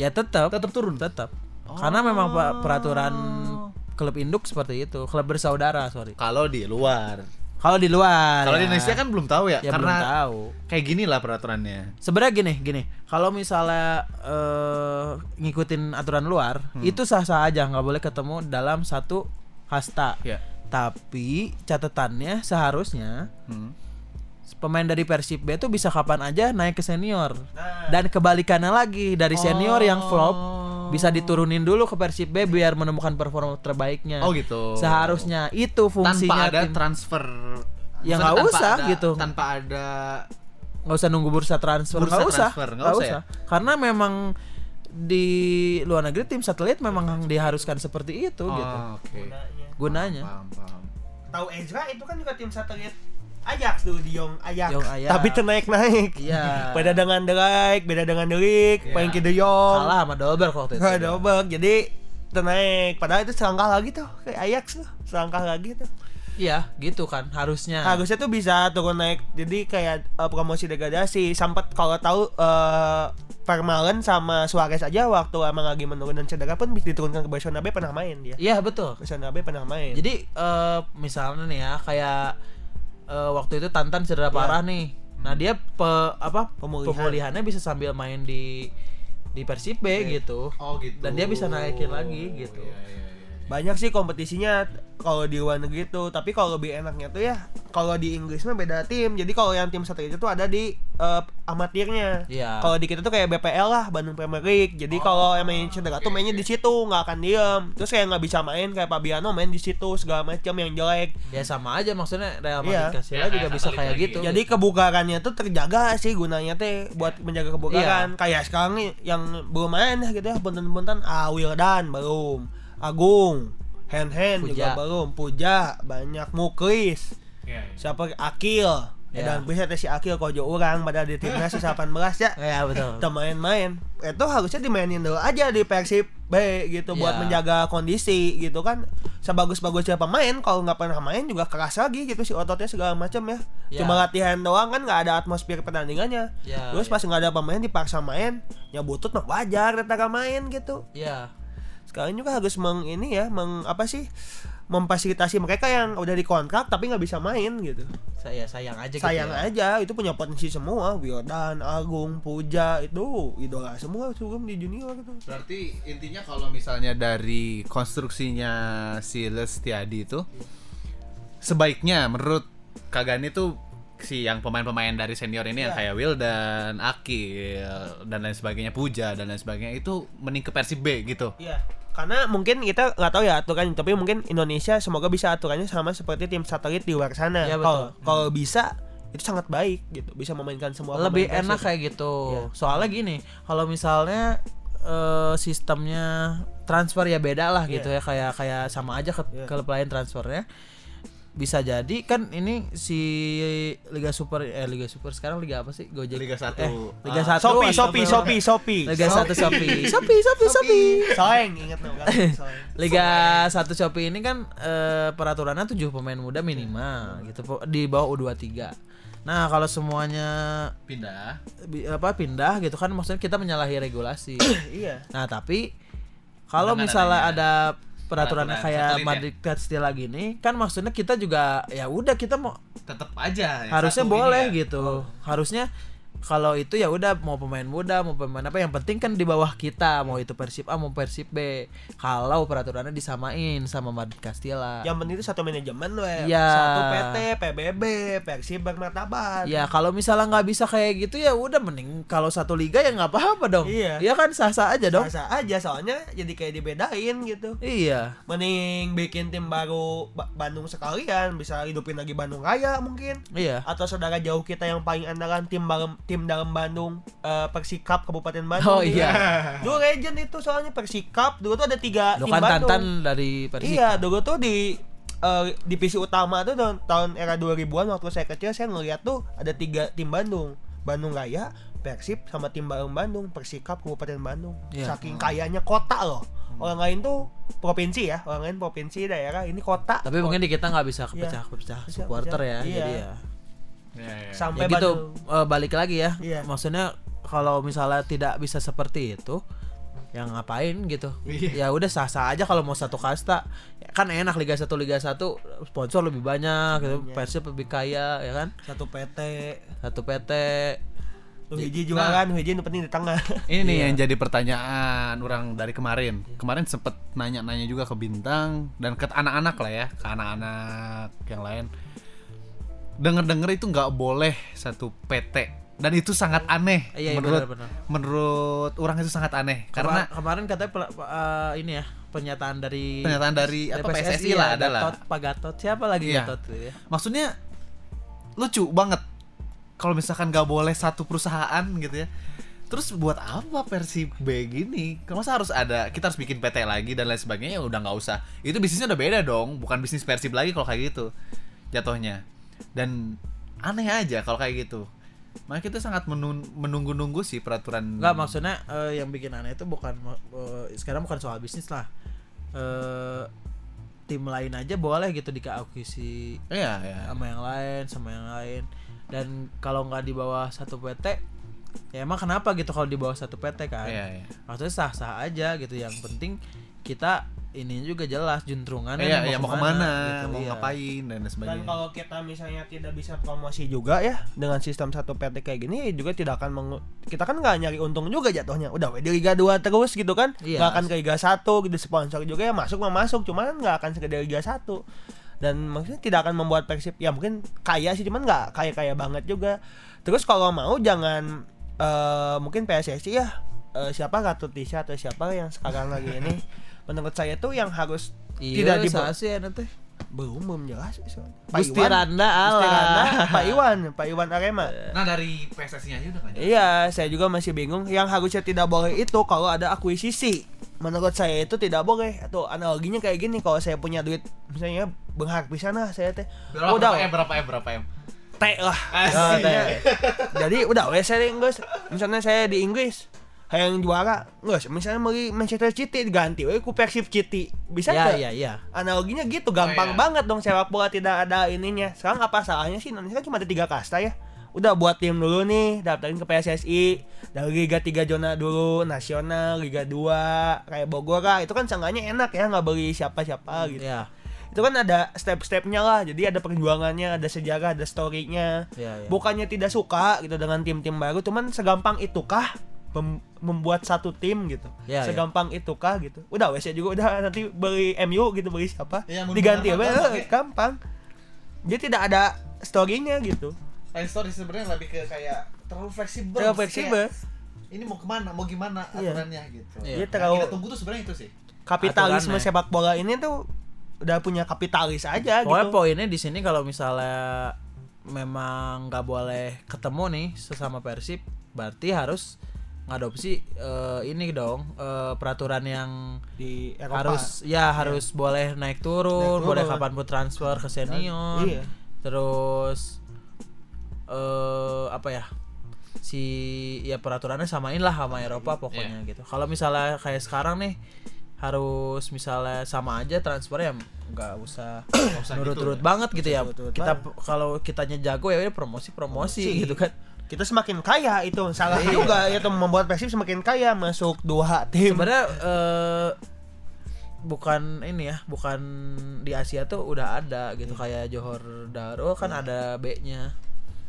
[SPEAKER 1] ya tetap,
[SPEAKER 2] tetap turun Oh.
[SPEAKER 1] tetap. Karena memang pa- peraturan klub induk seperti itu, klub bersaudara, sorry.
[SPEAKER 2] kalau di luar
[SPEAKER 1] Kalau di luar.
[SPEAKER 2] Kalau
[SPEAKER 1] ya.
[SPEAKER 2] di Indonesia kan belum tahu ya,
[SPEAKER 1] ya
[SPEAKER 2] karena
[SPEAKER 1] belum tahu.
[SPEAKER 2] kayak gini lah peraturannya.
[SPEAKER 1] Sebenarnya gini, gini. Kalau misalnya eh, ngikutin aturan luar,
[SPEAKER 2] Hmm.
[SPEAKER 1] itu sah-sah aja, nggak boleh ketemu dalam satu kasta.
[SPEAKER 2] Ya.
[SPEAKER 1] Tapi catatannya seharusnya
[SPEAKER 2] Hmm.
[SPEAKER 1] pemain dari Persib B itu bisa kapan aja naik ke senior.
[SPEAKER 2] Nah.
[SPEAKER 1] Dan kebalikannya lagi dari senior yang
[SPEAKER 2] Oh.
[SPEAKER 1] flop bisa diturunin dulu ke Persib B biar menemukan performa terbaiknya.
[SPEAKER 2] Oh gitu.
[SPEAKER 1] Seharusnya itu Iya. fungsinya
[SPEAKER 2] tanpa ada
[SPEAKER 1] tim.
[SPEAKER 2] transfer.
[SPEAKER 1] Ya,
[SPEAKER 2] Maksudnya
[SPEAKER 1] nggak
[SPEAKER 2] tanpa
[SPEAKER 1] usah
[SPEAKER 2] ada-
[SPEAKER 1] gitu.
[SPEAKER 2] Tanpa ada
[SPEAKER 1] nggak usah nunggu bursa transfer
[SPEAKER 2] Bursa
[SPEAKER 1] nggak usah
[SPEAKER 2] transfer, nggak
[SPEAKER 1] nggak
[SPEAKER 2] usah ya?
[SPEAKER 1] usah karena memang di luar negeri tim satelit memang diharuskan seperti itu gitu
[SPEAKER 2] Oh, Oke.
[SPEAKER 1] gunanya
[SPEAKER 2] Paham, paham.
[SPEAKER 3] ya, Tahu Ezra itu kan juga tim satelit Ajax dulu di Yong Ajax.
[SPEAKER 1] Yong Ajax.
[SPEAKER 3] Tapi ternaik naik.
[SPEAKER 1] Iya.
[SPEAKER 3] Beda dengan Derek, beda dengan Delik, Frankie De Jong.
[SPEAKER 1] kalah iya. sama Dolberg waktu itu
[SPEAKER 3] Gak Jadi ternaik. Padahal itu selangkah lagi tuh kayak Ajax tuh, selangkah lagi tuh.
[SPEAKER 1] iya gitu kan harusnya
[SPEAKER 3] Harusnya tuh bisa turun naik. Jadi kayak eh, promosi degradasi. Sampai kalau tahu eh Vermaelen sama Suarez aja waktu emang lagi menurun dan cedera pun bisa diturunkan ke Barcelona B pernah main dia.
[SPEAKER 1] iya betul
[SPEAKER 3] Barcelona B pernah main.
[SPEAKER 1] jadi eh, misalnya nih ya kayak eh, waktu itu Tantan
[SPEAKER 2] Iya.
[SPEAKER 1] cedera parah nih nah dia pe- apa
[SPEAKER 3] Pemulihan.
[SPEAKER 1] pemulihannya bisa sambil main di di Persib B gitu
[SPEAKER 2] Oh gitu.
[SPEAKER 1] dan dia bisa naikin lagi gitu
[SPEAKER 2] Iya, iya, iya.
[SPEAKER 3] banyak sih kompetisinya kalau di luar negeri tuh tapi kalau lebih enaknya tuh ya kalau di Inggris mah beda tim jadi kalau yang tim satelit itu ada di eh, amatirnya
[SPEAKER 1] Iya. Oh.
[SPEAKER 3] kalau di kita tuh kayak BPL lah Bandung Premier League jadi kalau yang main cedera tuh mainnya di situ nggak akan diem terus kayak nggak bisa main kayak Fabiano main di situ segala macam yang jelek
[SPEAKER 1] ya sama aja maksudnya Real Madrid
[SPEAKER 3] Iya.
[SPEAKER 1] ke Sevilla
[SPEAKER 2] Ya,
[SPEAKER 1] juga
[SPEAKER 2] kayak
[SPEAKER 1] bisa
[SPEAKER 2] satelit
[SPEAKER 1] kayak
[SPEAKER 2] lagi.
[SPEAKER 1] gitu
[SPEAKER 3] jadi kebugarannya tuh terjaga sih gunanya teh buat menjaga kebugaran kayak sekarang nih yang belum main ya gitu ya punten-punten ah Wildan belum Agung Hand Hand
[SPEAKER 1] Puja.
[SPEAKER 3] juga belum Puja banyak Muklis
[SPEAKER 2] Iya, iya.
[SPEAKER 3] siapa Akil
[SPEAKER 1] Ya.
[SPEAKER 3] dan bisa si Akil kojo orang pada di timnas sisa 18 ya
[SPEAKER 1] ya betul
[SPEAKER 3] kita main-main itu harusnya dimainin dulu aja di Persib B gitu
[SPEAKER 1] Ya.
[SPEAKER 3] buat menjaga kondisi gitu kan sebagus-bagusnya pemain kalau nggak pernah main juga keras lagi gitu si ototnya segala macam ya
[SPEAKER 1] Ya.
[SPEAKER 3] cuma latihan doang kan nggak ada atmosfer pertandingannya
[SPEAKER 1] Ya,
[SPEAKER 3] terus
[SPEAKER 1] ya.
[SPEAKER 3] pas nggak ada pemain dipaksa main ya butut mah wajar tetangga main gitu
[SPEAKER 1] ya
[SPEAKER 3] sekarang juga harus meng ini ya meng apa sih memfasilitasi mereka yang udah dikontrak tapi nggak bisa main gitu
[SPEAKER 1] saya sayang aja
[SPEAKER 3] sayang
[SPEAKER 1] gitu ya.
[SPEAKER 3] aja itu punya potensi semua Wildan Agung Puja itu idola semua sebelum di junior gitu
[SPEAKER 2] Berarti intinya kalau misalnya dari konstruksinya si Lestiadi itu sebaiknya menurut Kagani tuh si yang pemain-pemain dari senior ini yang
[SPEAKER 1] Iya.
[SPEAKER 2] kayak Wildan, Akil dan lain sebagainya, Puja dan lain sebagainya itu mending ke Persib B gitu.
[SPEAKER 3] iya karena mungkin kita nggak tahu ya aturan tapi mungkin Indonesia semoga bisa aturannya sama seperti tim satelit di luar sana
[SPEAKER 1] Iya, betul.
[SPEAKER 3] kalau kalau bisa itu sangat baik gitu bisa memainkan semua
[SPEAKER 1] lebih
[SPEAKER 3] pemain
[SPEAKER 1] enak
[SPEAKER 3] Persib.
[SPEAKER 1] kayak gitu
[SPEAKER 3] Iya.
[SPEAKER 1] soalnya gini kalau misalnya eh, sistemnya transfer ya beda lah gitu ya kayak kayak sama aja ke
[SPEAKER 3] Iya.
[SPEAKER 1] klub lain transfernya bisa jadi kan ini si Liga Super eh Liga Super sekarang Liga apa sih Gojek
[SPEAKER 2] Liga Satu.
[SPEAKER 1] eh, Liga
[SPEAKER 2] Ah.
[SPEAKER 1] Satu
[SPEAKER 3] Shopee,
[SPEAKER 1] apa
[SPEAKER 3] Shopee,
[SPEAKER 1] apa?
[SPEAKER 3] Shopee, Shopee.
[SPEAKER 1] Liga Satu Shopee Shopee Shopee Shopee
[SPEAKER 3] Soeng ingat dong kan Soeng.
[SPEAKER 1] Liga 1 Shopee ini kan eh, peraturannya 7 pemain muda minimal gitu po- di bawah U23. Nah, kalau semuanya
[SPEAKER 2] Pindah.
[SPEAKER 1] bi- apa pindah gitu kan maksudnya kita menyalahi regulasi.
[SPEAKER 3] Iya.
[SPEAKER 1] nah, tapi kalau
[SPEAKER 2] Dengan
[SPEAKER 1] misalnya
[SPEAKER 2] adanya
[SPEAKER 1] ada peraturannya
[SPEAKER 2] peraturan
[SPEAKER 1] kayak
[SPEAKER 2] satelit ya.
[SPEAKER 1] Madrid Castilla gini kan maksudnya kita juga ya udah kita mau
[SPEAKER 2] Tetap aja. yang
[SPEAKER 1] harusnya
[SPEAKER 2] satu ini
[SPEAKER 1] boleh
[SPEAKER 2] ya.
[SPEAKER 1] gitu
[SPEAKER 3] Oh.
[SPEAKER 1] harusnya kalau itu ya udah mau pemain muda mau pemain apa yang penting kan di bawah kita mau itu persib A mau persib B kalau peraturannya disamain sama Madrid Castilla
[SPEAKER 3] Yang penting itu satu manajemen weh.
[SPEAKER 1] Iya.
[SPEAKER 3] Satu PT, PBB, Persib Bermartabat.
[SPEAKER 1] ya kalau misalnya nggak bisa kayak gitu ya udah mending kalau satu liga ya nggak apa-apa dong
[SPEAKER 3] Iya.
[SPEAKER 1] ya kan sah-sah aja dong
[SPEAKER 3] Rasa aja soalnya jadi kayak dibedain gitu.
[SPEAKER 1] iya
[SPEAKER 3] Mending bikin tim baru Ba- Bandung sekalian, bisa hidupin lagi Bandung Raya mungkin.
[SPEAKER 1] iya
[SPEAKER 3] Atau saudara jauh kita yang paling andalan tim dalam tim dalam Bandung eh, Persikap Kabupaten Bandung.
[SPEAKER 1] Oh, iya.
[SPEAKER 3] Dulu legend itu soalnya Persikap dulu tuh ada tiga
[SPEAKER 1] lo
[SPEAKER 3] Ah, tim
[SPEAKER 1] kan
[SPEAKER 3] Bandung.
[SPEAKER 1] tantan dari persib
[SPEAKER 3] Iya, dulu tuh di eh, divisi utama tuh tahun, tahun era 2000-an waktu saya kecil saya ngeliat tuh ada tiga tim Bandung. Bandung Raya, Persib sama tim Bandung Bandung, Persikap Kabupaten Bandung.
[SPEAKER 1] Iya. Hmm.
[SPEAKER 3] Saking kayanya kota loh. Orang lain tuh provinsi ya, orang lain provinsi daerah, ini kota.
[SPEAKER 1] tapi mungkin di kita nggak bisa kepecah-kepecah
[SPEAKER 3] Iya. Bisa,
[SPEAKER 1] supporter ya
[SPEAKER 3] bisa. Iya.
[SPEAKER 1] jadi ya
[SPEAKER 2] Iya, iya.
[SPEAKER 1] ya
[SPEAKER 3] sampai
[SPEAKER 1] gitu
[SPEAKER 3] Bandung.
[SPEAKER 1] eh, balik lagi ya
[SPEAKER 3] Iya.
[SPEAKER 1] maksudnya kalau misalnya tidak bisa seperti itu yang ngapain gitu
[SPEAKER 3] Iya.
[SPEAKER 1] ya udah sah sah aja kalau mau satu kasta Ya kan enak Liga 1 Liga 1 sponsor lebih banyak gitu
[SPEAKER 3] Iya.
[SPEAKER 1] Persib lebih kaya ya kan
[SPEAKER 3] satu PT
[SPEAKER 1] satu PT
[SPEAKER 3] lu hiji juga kan hiji yang penting di tengah
[SPEAKER 1] Iya.
[SPEAKER 2] Ini nih yang jadi pertanyaan orang dari kemarin. Kemarin sempet nanya-nanya juga ke Bintang dan ke anak-anak lah ya, ke anak-anak yang lain. Dengar-dengar itu nggak boleh satu PT dan itu sangat aneh.
[SPEAKER 1] Iya, iya,
[SPEAKER 2] menurut
[SPEAKER 1] benar-benar.
[SPEAKER 2] menurut orang itu sangat aneh
[SPEAKER 1] karena
[SPEAKER 2] karena
[SPEAKER 1] kemarin katanya pel- eh, ini ya pernyataan dari
[SPEAKER 2] pernyataan dari apa PSSI
[SPEAKER 1] ya,
[SPEAKER 2] lah adalah.
[SPEAKER 1] Gatot, Pak Gatot siapa lagi
[SPEAKER 2] Iya.
[SPEAKER 1] Gatot gitu ya
[SPEAKER 2] Maksudnya lucu banget kalau misalkan nggak boleh satu perusahaan gitu ya. Terus buat apa versi B gini? Kalau masa harus ada kita harus bikin PT lagi dan lain sebagainya ya udah nggak usah. Itu bisnisnya udah beda dong, bukan bisnis Persib lagi kalau kayak gitu jatuhnya. Dan aneh aja kalau kayak gitu. Makanya kita sangat menun- menunggu-nunggu sih peraturan.
[SPEAKER 1] Enggak maksudnya eh, yang bikin aneh itu bukan eh, sekarang bukan soal bisnis lah. Eh tim lain aja boleh gitu dikeakuisi
[SPEAKER 2] Iya, iya.
[SPEAKER 1] sama yang lain, sama yang lain. Dan kalau nggak di bawah satu PT, ya emang kenapa gitu kalau di bawah satu PT kan?
[SPEAKER 2] Iya, iya.
[SPEAKER 1] Maksudnya sah-sah aja gitu. Yang penting kita ini juga jelas juntrungannya
[SPEAKER 2] Iya,
[SPEAKER 1] nih
[SPEAKER 2] iya, mau kemana,
[SPEAKER 1] gitu,
[SPEAKER 2] mau
[SPEAKER 1] iya.
[SPEAKER 2] ngapain dan lain
[SPEAKER 3] dan
[SPEAKER 2] sebagainya.
[SPEAKER 3] kalau kita misalnya tidak bisa promosi juga ya dengan sistem satu PT kayak gini juga tidak akan mengu- kita kan nggak nyari untung juga jatuhnya udah we di Liga 2 terus gitu kan
[SPEAKER 1] Iya.
[SPEAKER 3] nggak akan ke Liga 1 gitu sponsor juga ya masuk mah masuk cuman nggak akan sekedar Liga 1 dan maksudnya tidak akan membuat Persib ya mungkin kaya sih cuman nggak kaya kaya banget juga terus kalau mau jangan eh, mungkin PSSI ya eh, siapa Ratu Tisha atau siapa yang sekarang lagi ini menurut saya tuh yang harus
[SPEAKER 1] Iya,
[SPEAKER 3] tidak di
[SPEAKER 1] sah sih enak teh.
[SPEAKER 3] belum belum jelas so.
[SPEAKER 1] Gusti Randa
[SPEAKER 3] Gusti Randa,
[SPEAKER 1] Allah.
[SPEAKER 3] Pak Iwan Pak Iwan Arema
[SPEAKER 2] Nah, dari PSSI aja udah nggak jadi.
[SPEAKER 3] iya saya juga masih bingung yang harusnya tidak boleh itu kalau ada akuisisi menurut saya itu tidak boleh atau analoginya kayak gini kalau saya punya duit misalnya benghak pisan lah saya teh
[SPEAKER 2] Berapa,
[SPEAKER 3] udah
[SPEAKER 2] berapa M, berapa M, berapa M?
[SPEAKER 3] T lah
[SPEAKER 2] Asik.
[SPEAKER 3] Ya, T. jadi udah wes saya Inggris misalnya saya di Inggris yang juara nggak misalnya beli Manchester City diganti we ku Persib City bisa
[SPEAKER 1] Iya,
[SPEAKER 3] nggak?
[SPEAKER 1] iya, iya.
[SPEAKER 3] analoginya gitu gampang
[SPEAKER 2] Oh, iya.
[SPEAKER 3] banget dong sepak bola tidak ada ininya sekarang apa salahnya sih Indonesia kan cuma ada tiga kasta ya udah buat tim dulu nih daftarin ke PSSI dari Liga 3 zona dulu nasional Liga 2 kayak Bogor lah itu kan seenggaknya enak ya nggak beli siapa-siapa gitu
[SPEAKER 1] Iya.
[SPEAKER 3] itu kan ada step-stepnya lah jadi ada perjuangannya ada sejarah ada storynya
[SPEAKER 1] Iya, iya.
[SPEAKER 3] bukannya tidak suka gitu dengan tim-tim baru cuman segampang itukah mem- membuat satu tim gitu
[SPEAKER 1] Ya, ya.
[SPEAKER 3] segampang itukah gitu udah WC juga udah nanti beli MU gitu beli siapa
[SPEAKER 2] Iya, mau
[SPEAKER 3] diganti
[SPEAKER 2] dibilang
[SPEAKER 3] apa
[SPEAKER 2] gampang
[SPEAKER 3] eh,
[SPEAKER 2] ya.
[SPEAKER 3] gampang jadi tidak ada storynya gitu
[SPEAKER 2] Line story sebenarnya lebih ke kayak terlalu fleksibel.
[SPEAKER 3] terlalu
[SPEAKER 2] Maksudnya
[SPEAKER 3] fleksibel
[SPEAKER 2] Ini mau kemana, mau gimana
[SPEAKER 3] Iya.
[SPEAKER 2] aturannya gitu.
[SPEAKER 1] Iya.
[SPEAKER 2] Iya.
[SPEAKER 3] Dia
[SPEAKER 2] Yang kita
[SPEAKER 3] terlalu
[SPEAKER 2] tunggu tuh sebenarnya itu sih.
[SPEAKER 3] kapitalisme
[SPEAKER 1] aturannya.
[SPEAKER 3] sepak bola ini tuh udah punya kapitalis aja
[SPEAKER 1] Pokoknya
[SPEAKER 3] gitu
[SPEAKER 1] poinnya di sini kalau misalnya memang nggak boleh ketemu nih sesama Persib, berarti harus ngadopsi eh, ini dong eh, peraturan yang
[SPEAKER 3] di Eropa Iya.
[SPEAKER 1] harus ya harus boleh naik turun,
[SPEAKER 3] Naik
[SPEAKER 1] boleh
[SPEAKER 3] turun.
[SPEAKER 1] kapanpun transfer ke senior,
[SPEAKER 3] Iya.
[SPEAKER 1] terus eh apa ya si ya peraturannya samain lah sama
[SPEAKER 3] Iya.
[SPEAKER 1] Eropa pokoknya gitu. Kalau misalnya kayak sekarang nih harus misalnya sama aja transfernya ya nggak usah
[SPEAKER 2] usah
[SPEAKER 1] nurut-nurut banget gitu ya
[SPEAKER 3] nurut-nurut
[SPEAKER 1] kita
[SPEAKER 3] banget.
[SPEAKER 1] kalau kitanya jago ya udah promosi promosi
[SPEAKER 3] Promosi.
[SPEAKER 1] gitu kan
[SPEAKER 3] kita semakin kaya itu salah juga itu membuat Persib semakin kaya masuk dua tim
[SPEAKER 1] sebenarnya eh, bukan ini ya bukan di Asia tuh udah ada gitu
[SPEAKER 3] Hmm.
[SPEAKER 1] kayak Johor Darul kan ada B-nya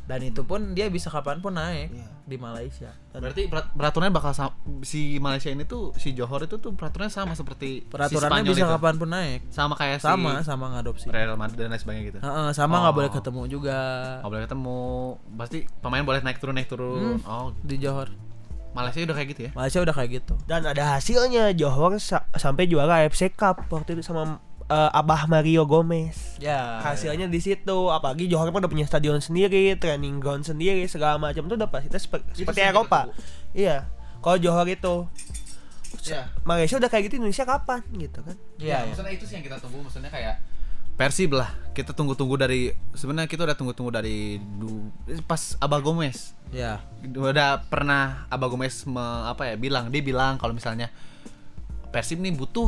[SPEAKER 1] dan itu pun dia bisa kapanpun naik
[SPEAKER 3] Iya.
[SPEAKER 1] di Malaysia
[SPEAKER 2] Berarti perat- peraturannya bakal sa- si Malaysia ini tuh si Johor itu tuh peraturannya sama seperti
[SPEAKER 1] peraturannya
[SPEAKER 2] si Spanyol
[SPEAKER 1] bisa
[SPEAKER 2] itu.
[SPEAKER 1] kapanpun naik
[SPEAKER 2] Sama kayak
[SPEAKER 1] sama Ah.
[SPEAKER 2] si
[SPEAKER 1] sama ngadopsi
[SPEAKER 2] Real Madrid dan lain sebagainya gitu.
[SPEAKER 1] Heeh, sama nggak
[SPEAKER 2] Oh.
[SPEAKER 1] boleh ketemu juga
[SPEAKER 2] Nggak boleh ketemu, pasti pemain boleh naik turun naik turun. Oh,
[SPEAKER 1] di Johor
[SPEAKER 2] Malaysia udah kayak gitu ya?
[SPEAKER 1] Malaysia udah kayak gitu
[SPEAKER 3] dan ada hasilnya Johor sa- sampai juara AFC Cup waktu itu sama eh, Abah Mario Gomez
[SPEAKER 1] ya
[SPEAKER 3] hasilnya di situ apalagi Johor pun udah punya stadion sendiri training ground sendiri segala macam itu udah pasti sepe-
[SPEAKER 2] sih
[SPEAKER 3] seperti Eropa
[SPEAKER 2] kita
[SPEAKER 3] iya kalau Johor itu
[SPEAKER 2] Iya.
[SPEAKER 3] Malaysia udah kayak gitu Indonesia kapan gitu kan
[SPEAKER 1] Iya, iya.
[SPEAKER 2] maksudnya itu sih yang kita tunggu, maksudnya kayak Persib lah. Kita tunggu-tunggu dari sebenarnya kita udah tunggu-tunggu dari du- pas Abah Gomez.
[SPEAKER 1] ya
[SPEAKER 2] udah pernah Abah Gomez me- apa ya bilang dia bilang kalau misalnya Persib nih butuh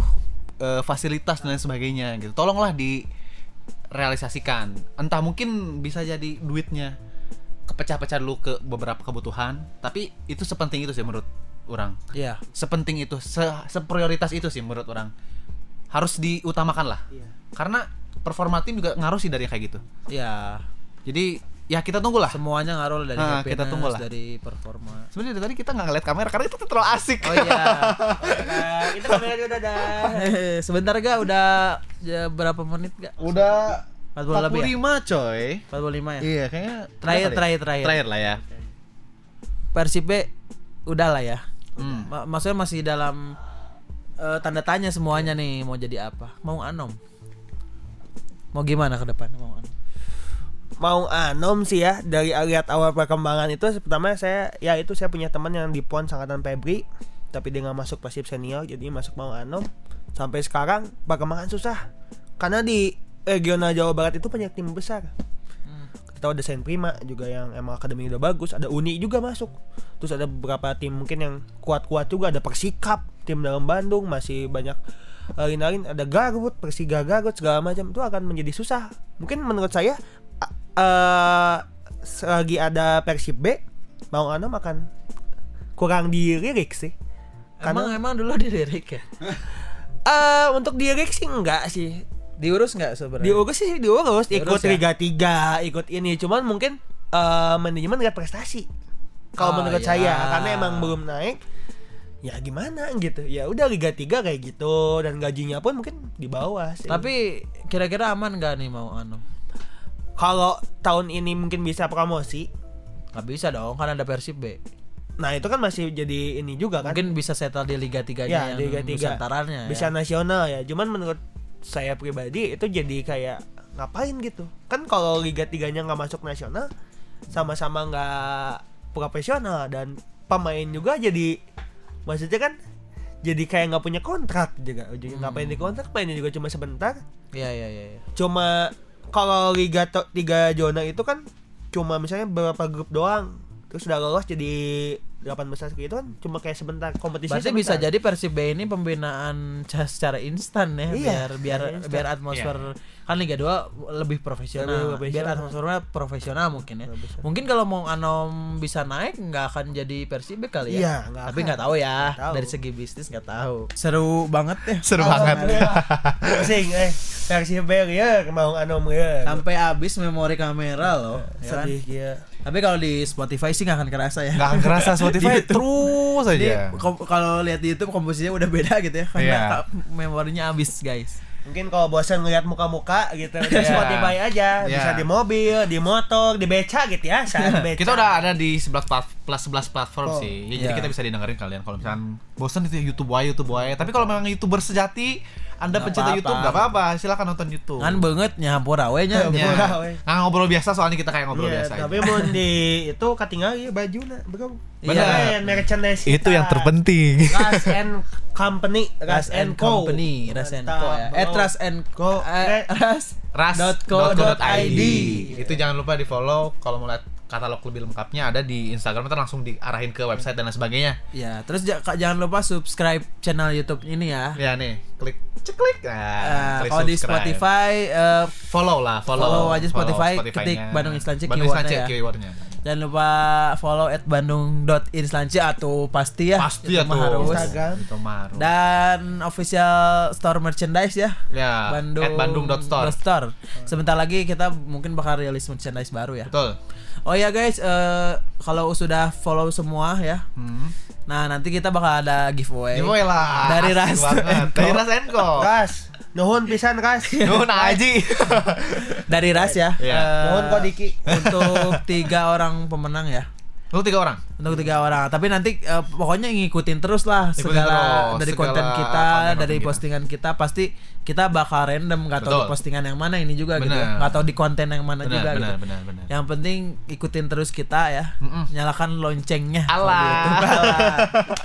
[SPEAKER 2] eh, fasilitas dan lain sebagainya gitu tolonglah direalisasikan entah mungkin bisa jadi duitnya kepecah-pecah dulu ke beberapa kebutuhan tapi itu sepenting itu sih menurut orang.
[SPEAKER 1] Iya.
[SPEAKER 2] Sepenting itu, se- seprioritas itu sih menurut orang. Harus diutamakan lah. Karena performa tim juga ngaruh sih dari kayak gitu.
[SPEAKER 1] Iya.
[SPEAKER 2] Jadi ya kita tunggulah.
[SPEAKER 1] Semuanya ngaruh dari
[SPEAKER 2] Ah,
[SPEAKER 1] happiness,
[SPEAKER 2] kita tunggu lah.
[SPEAKER 1] dari performa.
[SPEAKER 2] Sebenarnya dari tadi kita nggak ngeliat kamera karena itu terlalu asik.
[SPEAKER 1] Oh iya.
[SPEAKER 3] kita kameranya udah ada.
[SPEAKER 1] Eh, Sebentar ga udah ya, berapa menit ga?
[SPEAKER 2] Udah
[SPEAKER 1] 40 lebih
[SPEAKER 2] 45 coy.
[SPEAKER 1] 45 ya.
[SPEAKER 2] Iya, kayaknya
[SPEAKER 1] Terakhir,
[SPEAKER 2] kali.
[SPEAKER 1] terakhir, terakhir.
[SPEAKER 2] Terakhir lah ya.
[SPEAKER 1] Persib B udah lah ya.
[SPEAKER 2] Hmm.
[SPEAKER 1] Ma- maksudnya masih dalam eh, tanda tanya semuanya nih mau jadi apa? Mau Anom? Mau gimana ke depan? Mau Anom?
[SPEAKER 3] Mau Anom sih ya dari lihat awal perkembangan itu pertama saya ya itu saya punya teman yang di PON sangkatan Febri tapi dia nggak masuk pasif senior jadi masuk Mau Anom sampai sekarang perkembangan susah karena di regional Jawa Barat itu banyak tim besar kita ada Saint Prima juga yang emang akademi udah bagus ada Uni juga masuk terus ada beberapa tim mungkin yang kuat-kuat juga ada Persikap tim dalam Bandung masih banyak eh, lain-lain ada Garut Persiga Garut segala macam itu akan menjadi susah mungkin menurut saya a- eh selagi ada Persib B mau Anom akan kurang diririk sih
[SPEAKER 1] Emang
[SPEAKER 3] karena
[SPEAKER 1] emang dulu dilirik ya?
[SPEAKER 3] eh untuk diririk sih enggak sih
[SPEAKER 1] Diurus nggak sebenarnya?
[SPEAKER 3] diurus sih diurus ikut
[SPEAKER 1] Diurus ya?
[SPEAKER 3] Liga 3 ikut ini cuman mungkin eh, manajemen lihat prestasi
[SPEAKER 1] Oh,
[SPEAKER 3] kalau menurut
[SPEAKER 1] iya.
[SPEAKER 3] saya karena emang belum naik ya gimana gitu ya udah Liga 3 kayak gitu dan gajinya pun mungkin di bawah sih.
[SPEAKER 1] Tapi kira-kira aman nggak nih mau Anom?
[SPEAKER 3] kalau tahun ini mungkin bisa promosi
[SPEAKER 1] Gak bisa dong kan ada Persib B.
[SPEAKER 3] nah itu kan masih jadi ini juga kan
[SPEAKER 1] Mungkin bisa settle di Liga 3-nya
[SPEAKER 3] ya
[SPEAKER 1] yang
[SPEAKER 3] Liga 3
[SPEAKER 1] Nusantaranya ya.
[SPEAKER 3] bisa nasional ya cuman menurut saya pribadi itu jadi kayak ngapain gitu kan kalau Liga 3 nya nggak masuk nasional sama-sama nggak profesional dan pemain juga jadi maksudnya kan jadi kayak nggak punya kontrak juga ujungnya
[SPEAKER 1] Hmm.
[SPEAKER 3] ngapain di kontrak mainnya juga cuma sebentar
[SPEAKER 1] Iya iya iya. iya.
[SPEAKER 3] cuma kalau liga to- tiga zona itu kan cuma misalnya beberapa grup doang terus udah lolos jadi delapan besar gitu kan cuma kayak sebentar kompetisi
[SPEAKER 1] Berarti bisa jadi Persib B ini pembinaan ca- secara instan ya
[SPEAKER 3] Iya,
[SPEAKER 1] biar biar
[SPEAKER 3] secara instan.
[SPEAKER 1] biar atmosfer kan Liga 2 lebih profesional.
[SPEAKER 3] Lebih profesional.
[SPEAKER 1] Biar atmosfernya profesional mungkin ya.
[SPEAKER 3] Profesional.
[SPEAKER 1] Mungkin kalau mau Anom bisa naik nggak akan jadi Persib B kali ya.
[SPEAKER 3] Iya, nggak
[SPEAKER 1] Tapi
[SPEAKER 3] akan.
[SPEAKER 1] nggak tahu ya.
[SPEAKER 3] Nggak tahu.
[SPEAKER 1] Dari segi bisnis nggak tahu. Seru banget ya.
[SPEAKER 2] Seru banget.
[SPEAKER 3] Pusing eh versi barrier mau anom ya.
[SPEAKER 1] Sampai habis memori kamera loh. ya kan?
[SPEAKER 3] sedih ya.
[SPEAKER 1] Tapi kalau di Spotify sih nggak akan kerasa ya.
[SPEAKER 2] Nggak akan kerasa Spotify
[SPEAKER 1] Di-
[SPEAKER 2] terus
[SPEAKER 1] Jadi
[SPEAKER 2] aja.
[SPEAKER 1] kom- kalau lihat di YouTube komposisinya udah beda gitu ya karena
[SPEAKER 2] Iya.
[SPEAKER 1] ka- memorinya habis guys.
[SPEAKER 3] Mungkin kalau bosan ngeliat muka-muka gitu
[SPEAKER 2] Iya.
[SPEAKER 3] di Spotify aja,
[SPEAKER 2] Iya.
[SPEAKER 3] bisa di mobil, di motor, di beca gitu ya, saat beca.
[SPEAKER 2] Kita udah ada di 11 plat- plus 11 platform
[SPEAKER 3] Oh,
[SPEAKER 2] sih. Ya,
[SPEAKER 1] iya.
[SPEAKER 2] Jadi kita bisa didengerin kalian kalau misalkan bosan itu ya YouTube wae, YouTube wae. Tapi kalau memang YouTuber sejati, Anda
[SPEAKER 1] Nggak
[SPEAKER 2] pencinta
[SPEAKER 1] apa-apa.
[SPEAKER 2] YouTube nggak apa-apa, silakan nonton YouTube.
[SPEAKER 1] Kan banget nyampur awe nya.
[SPEAKER 3] Iya.
[SPEAKER 2] Ya.
[SPEAKER 3] Ngobrol, weh.
[SPEAKER 2] Nggak ngobrol biasa soalnya kita kayak ngobrol
[SPEAKER 3] Iya,
[SPEAKER 2] biasa. aja.
[SPEAKER 3] tapi mau di itu katinggal ya baju nah, bro.
[SPEAKER 1] Iya.
[SPEAKER 3] Beneran, merchandise kita.
[SPEAKER 2] terpenting.
[SPEAKER 3] Ras and Company,
[SPEAKER 1] Ras
[SPEAKER 3] Ras
[SPEAKER 1] and
[SPEAKER 3] and Co.
[SPEAKER 1] Company, Ras and
[SPEAKER 3] Mantap,
[SPEAKER 1] Co ya.
[SPEAKER 3] bro.
[SPEAKER 1] Eh, Ras and Co, eh,
[SPEAKER 3] Re-
[SPEAKER 1] Ras.
[SPEAKER 2] ras.co.id
[SPEAKER 1] ras.co.id.
[SPEAKER 2] itu jangan lupa di follow kalau mau lihat katalog lebih lengkapnya ada di Instagram ntar langsung diarahin ke website dan lain sebagainya
[SPEAKER 1] Ya, terus ja- ka- jangan lupa subscribe channel YouTube ini ya.
[SPEAKER 2] ya nih klik ceklik nah,
[SPEAKER 1] Eh,
[SPEAKER 2] klik
[SPEAKER 1] kalau di
[SPEAKER 2] subscribe.
[SPEAKER 1] Spotify eh,
[SPEAKER 2] follow lah
[SPEAKER 1] Follow
[SPEAKER 2] follow
[SPEAKER 1] aja Spotify, ketik
[SPEAKER 2] Spotify-nya.
[SPEAKER 1] Bandung Islanci
[SPEAKER 2] Bandung
[SPEAKER 1] keywordnya
[SPEAKER 2] Islanci
[SPEAKER 1] ya.
[SPEAKER 2] keywordnya
[SPEAKER 1] jangan lupa follow at bandung.inslanci atau pasti ya.
[SPEAKER 2] pasti
[SPEAKER 1] Itu
[SPEAKER 2] ya
[SPEAKER 1] mah
[SPEAKER 2] tuh
[SPEAKER 1] harus.
[SPEAKER 3] Instagram.
[SPEAKER 2] itu mah harus.
[SPEAKER 1] Dan official store merchandise ya.
[SPEAKER 2] ya
[SPEAKER 1] Bandung
[SPEAKER 2] at bandung.store
[SPEAKER 1] dot store. Sebentar lagi kita mungkin bakal rilis merchandise baru ya.
[SPEAKER 2] betul
[SPEAKER 1] Oh ya guys, eh, kalau sudah follow semua ya.
[SPEAKER 2] Hmm.
[SPEAKER 1] Nah, nanti kita bakal ada giveaway.
[SPEAKER 2] giveaway lah
[SPEAKER 1] Dari
[SPEAKER 2] Asik
[SPEAKER 1] Ras
[SPEAKER 2] banget.
[SPEAKER 1] and Co.
[SPEAKER 2] dari Ras Enko
[SPEAKER 3] Ras, nuhun pisan Ras.
[SPEAKER 2] Nuhun Aji
[SPEAKER 1] Dari Ras ya.
[SPEAKER 2] Iya.
[SPEAKER 1] Eh,
[SPEAKER 3] Nuhun kok Diki.
[SPEAKER 1] untuk tiga orang pemenang ya.
[SPEAKER 2] lu tiga orang
[SPEAKER 1] Untuk tiga orang. Tapi nanti eh, pokoknya ngikutin terus lah
[SPEAKER 2] Ikutin
[SPEAKER 1] segala
[SPEAKER 2] terus,
[SPEAKER 1] dari
[SPEAKER 2] segala
[SPEAKER 1] konten kita,
[SPEAKER 2] konten-konten
[SPEAKER 1] dari
[SPEAKER 2] kita.
[SPEAKER 1] postingan kita pasti kita bakal random nggak tahu di
[SPEAKER 2] Betul.
[SPEAKER 1] postingan yang mana ini juga gitu. ya.
[SPEAKER 2] Benar.
[SPEAKER 1] Nggak tahu di konten yang mana
[SPEAKER 2] Benar,
[SPEAKER 1] juga
[SPEAKER 2] benar,
[SPEAKER 1] gitu.
[SPEAKER 2] benar, benar.
[SPEAKER 1] Yang penting ikutin terus kita ya.
[SPEAKER 2] Mm-mm.
[SPEAKER 1] Nyalakan loncengnya. gitu.
[SPEAKER 2] Alah.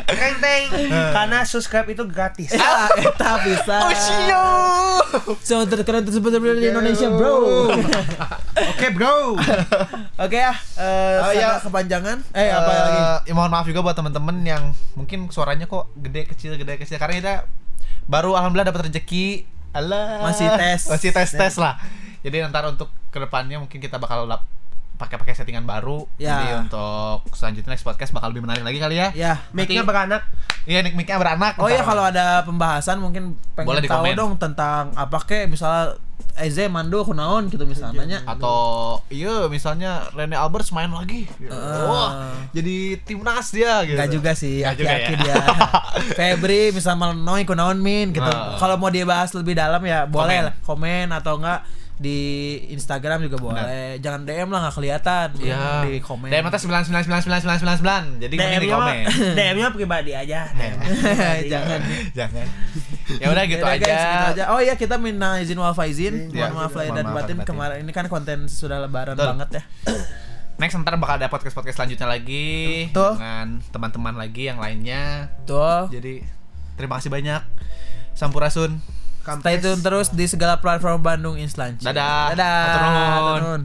[SPEAKER 3] Teng teng. Karena subscribe itu gratis.
[SPEAKER 2] Eh.
[SPEAKER 1] Ya, kita bisa.
[SPEAKER 2] Oh,
[SPEAKER 1] Sama terkeren tersebut di Indonesia, bro.
[SPEAKER 3] Oke, bro.
[SPEAKER 1] Oke ya, eh,
[SPEAKER 2] Oh, ya.
[SPEAKER 1] karena kepanjangan. Eh, apa
[SPEAKER 2] Eh,
[SPEAKER 1] lagi?
[SPEAKER 2] ya mohon maaf juga buat temen-temen yang mungkin suaranya kok gede kecil gede kecil karena kita baru alhamdulillah dapat rezeki. Alah.
[SPEAKER 1] Masih tes.
[SPEAKER 2] Masih tes tes lah. Jadi ntar untuk kedepannya mungkin kita bakal lap- pakai-pakai settingan baru.
[SPEAKER 1] Ya.
[SPEAKER 2] Jadi untuk selanjutnya next podcast bakal lebih menarik lagi kali ya.
[SPEAKER 1] Ya.
[SPEAKER 3] Mic-nya
[SPEAKER 2] Nanti-
[SPEAKER 3] beranak.
[SPEAKER 2] Iya, Nick Mickey beranak.
[SPEAKER 1] Oh
[SPEAKER 2] Ntar.
[SPEAKER 1] iya kalau ada pembahasan mungkin pengen
[SPEAKER 2] Boleh di
[SPEAKER 1] tahu
[SPEAKER 2] komen.
[SPEAKER 1] dong tentang apa kek misalnya Eze Mando kunaon gitu misalnya nanya.
[SPEAKER 2] atau iya misalnya Rene Alberts main lagi. Wah, jadi timnas dia gitu.
[SPEAKER 1] Enggak Eh. juga sih,
[SPEAKER 2] Nggak juga
[SPEAKER 1] aki-aki
[SPEAKER 2] ya.
[SPEAKER 1] dia. Febri bisa melenoi kunaon min gitu.
[SPEAKER 2] Nah.
[SPEAKER 1] Kalau mau dibahas lebih dalam ya boleh
[SPEAKER 2] Komen.
[SPEAKER 1] lah, komen atau enggak di Instagram juga boleh. Jangan DM lah nggak kelihatan
[SPEAKER 2] Iya.
[SPEAKER 1] di komen.
[SPEAKER 2] DM atas 999999. Jadi mending di
[SPEAKER 3] DM-nya mah-
[SPEAKER 2] komen. Nah,
[SPEAKER 3] DM-nya pribadi aja. DM.
[SPEAKER 1] Jangan.
[SPEAKER 2] Jangan. Ya udah gitu
[SPEAKER 1] Yaudah,
[SPEAKER 2] aja.
[SPEAKER 1] guys, segitu aja. Oh iya kita minta izin wal faizin,
[SPEAKER 2] Iya.
[SPEAKER 1] mohon maaf lahir
[SPEAKER 2] Mohon
[SPEAKER 1] dan
[SPEAKER 2] maaf
[SPEAKER 1] batin
[SPEAKER 2] dan batin.
[SPEAKER 1] kemarin ini kan konten sudah lebaran
[SPEAKER 2] Betul.
[SPEAKER 1] banget ya.
[SPEAKER 2] Next ntar bakal ada podcast-podcast selanjutnya lagi
[SPEAKER 1] Betul.
[SPEAKER 2] dengan teman-teman lagi yang lainnya.
[SPEAKER 1] Tuh.
[SPEAKER 2] Jadi terima kasih banyak. Sampurasun.
[SPEAKER 1] Stay tune terus di segala platform Bandung Instance.
[SPEAKER 2] Dadah.
[SPEAKER 1] Dadah.
[SPEAKER 2] Hatur nuhun.
[SPEAKER 1] Hatur nuhun.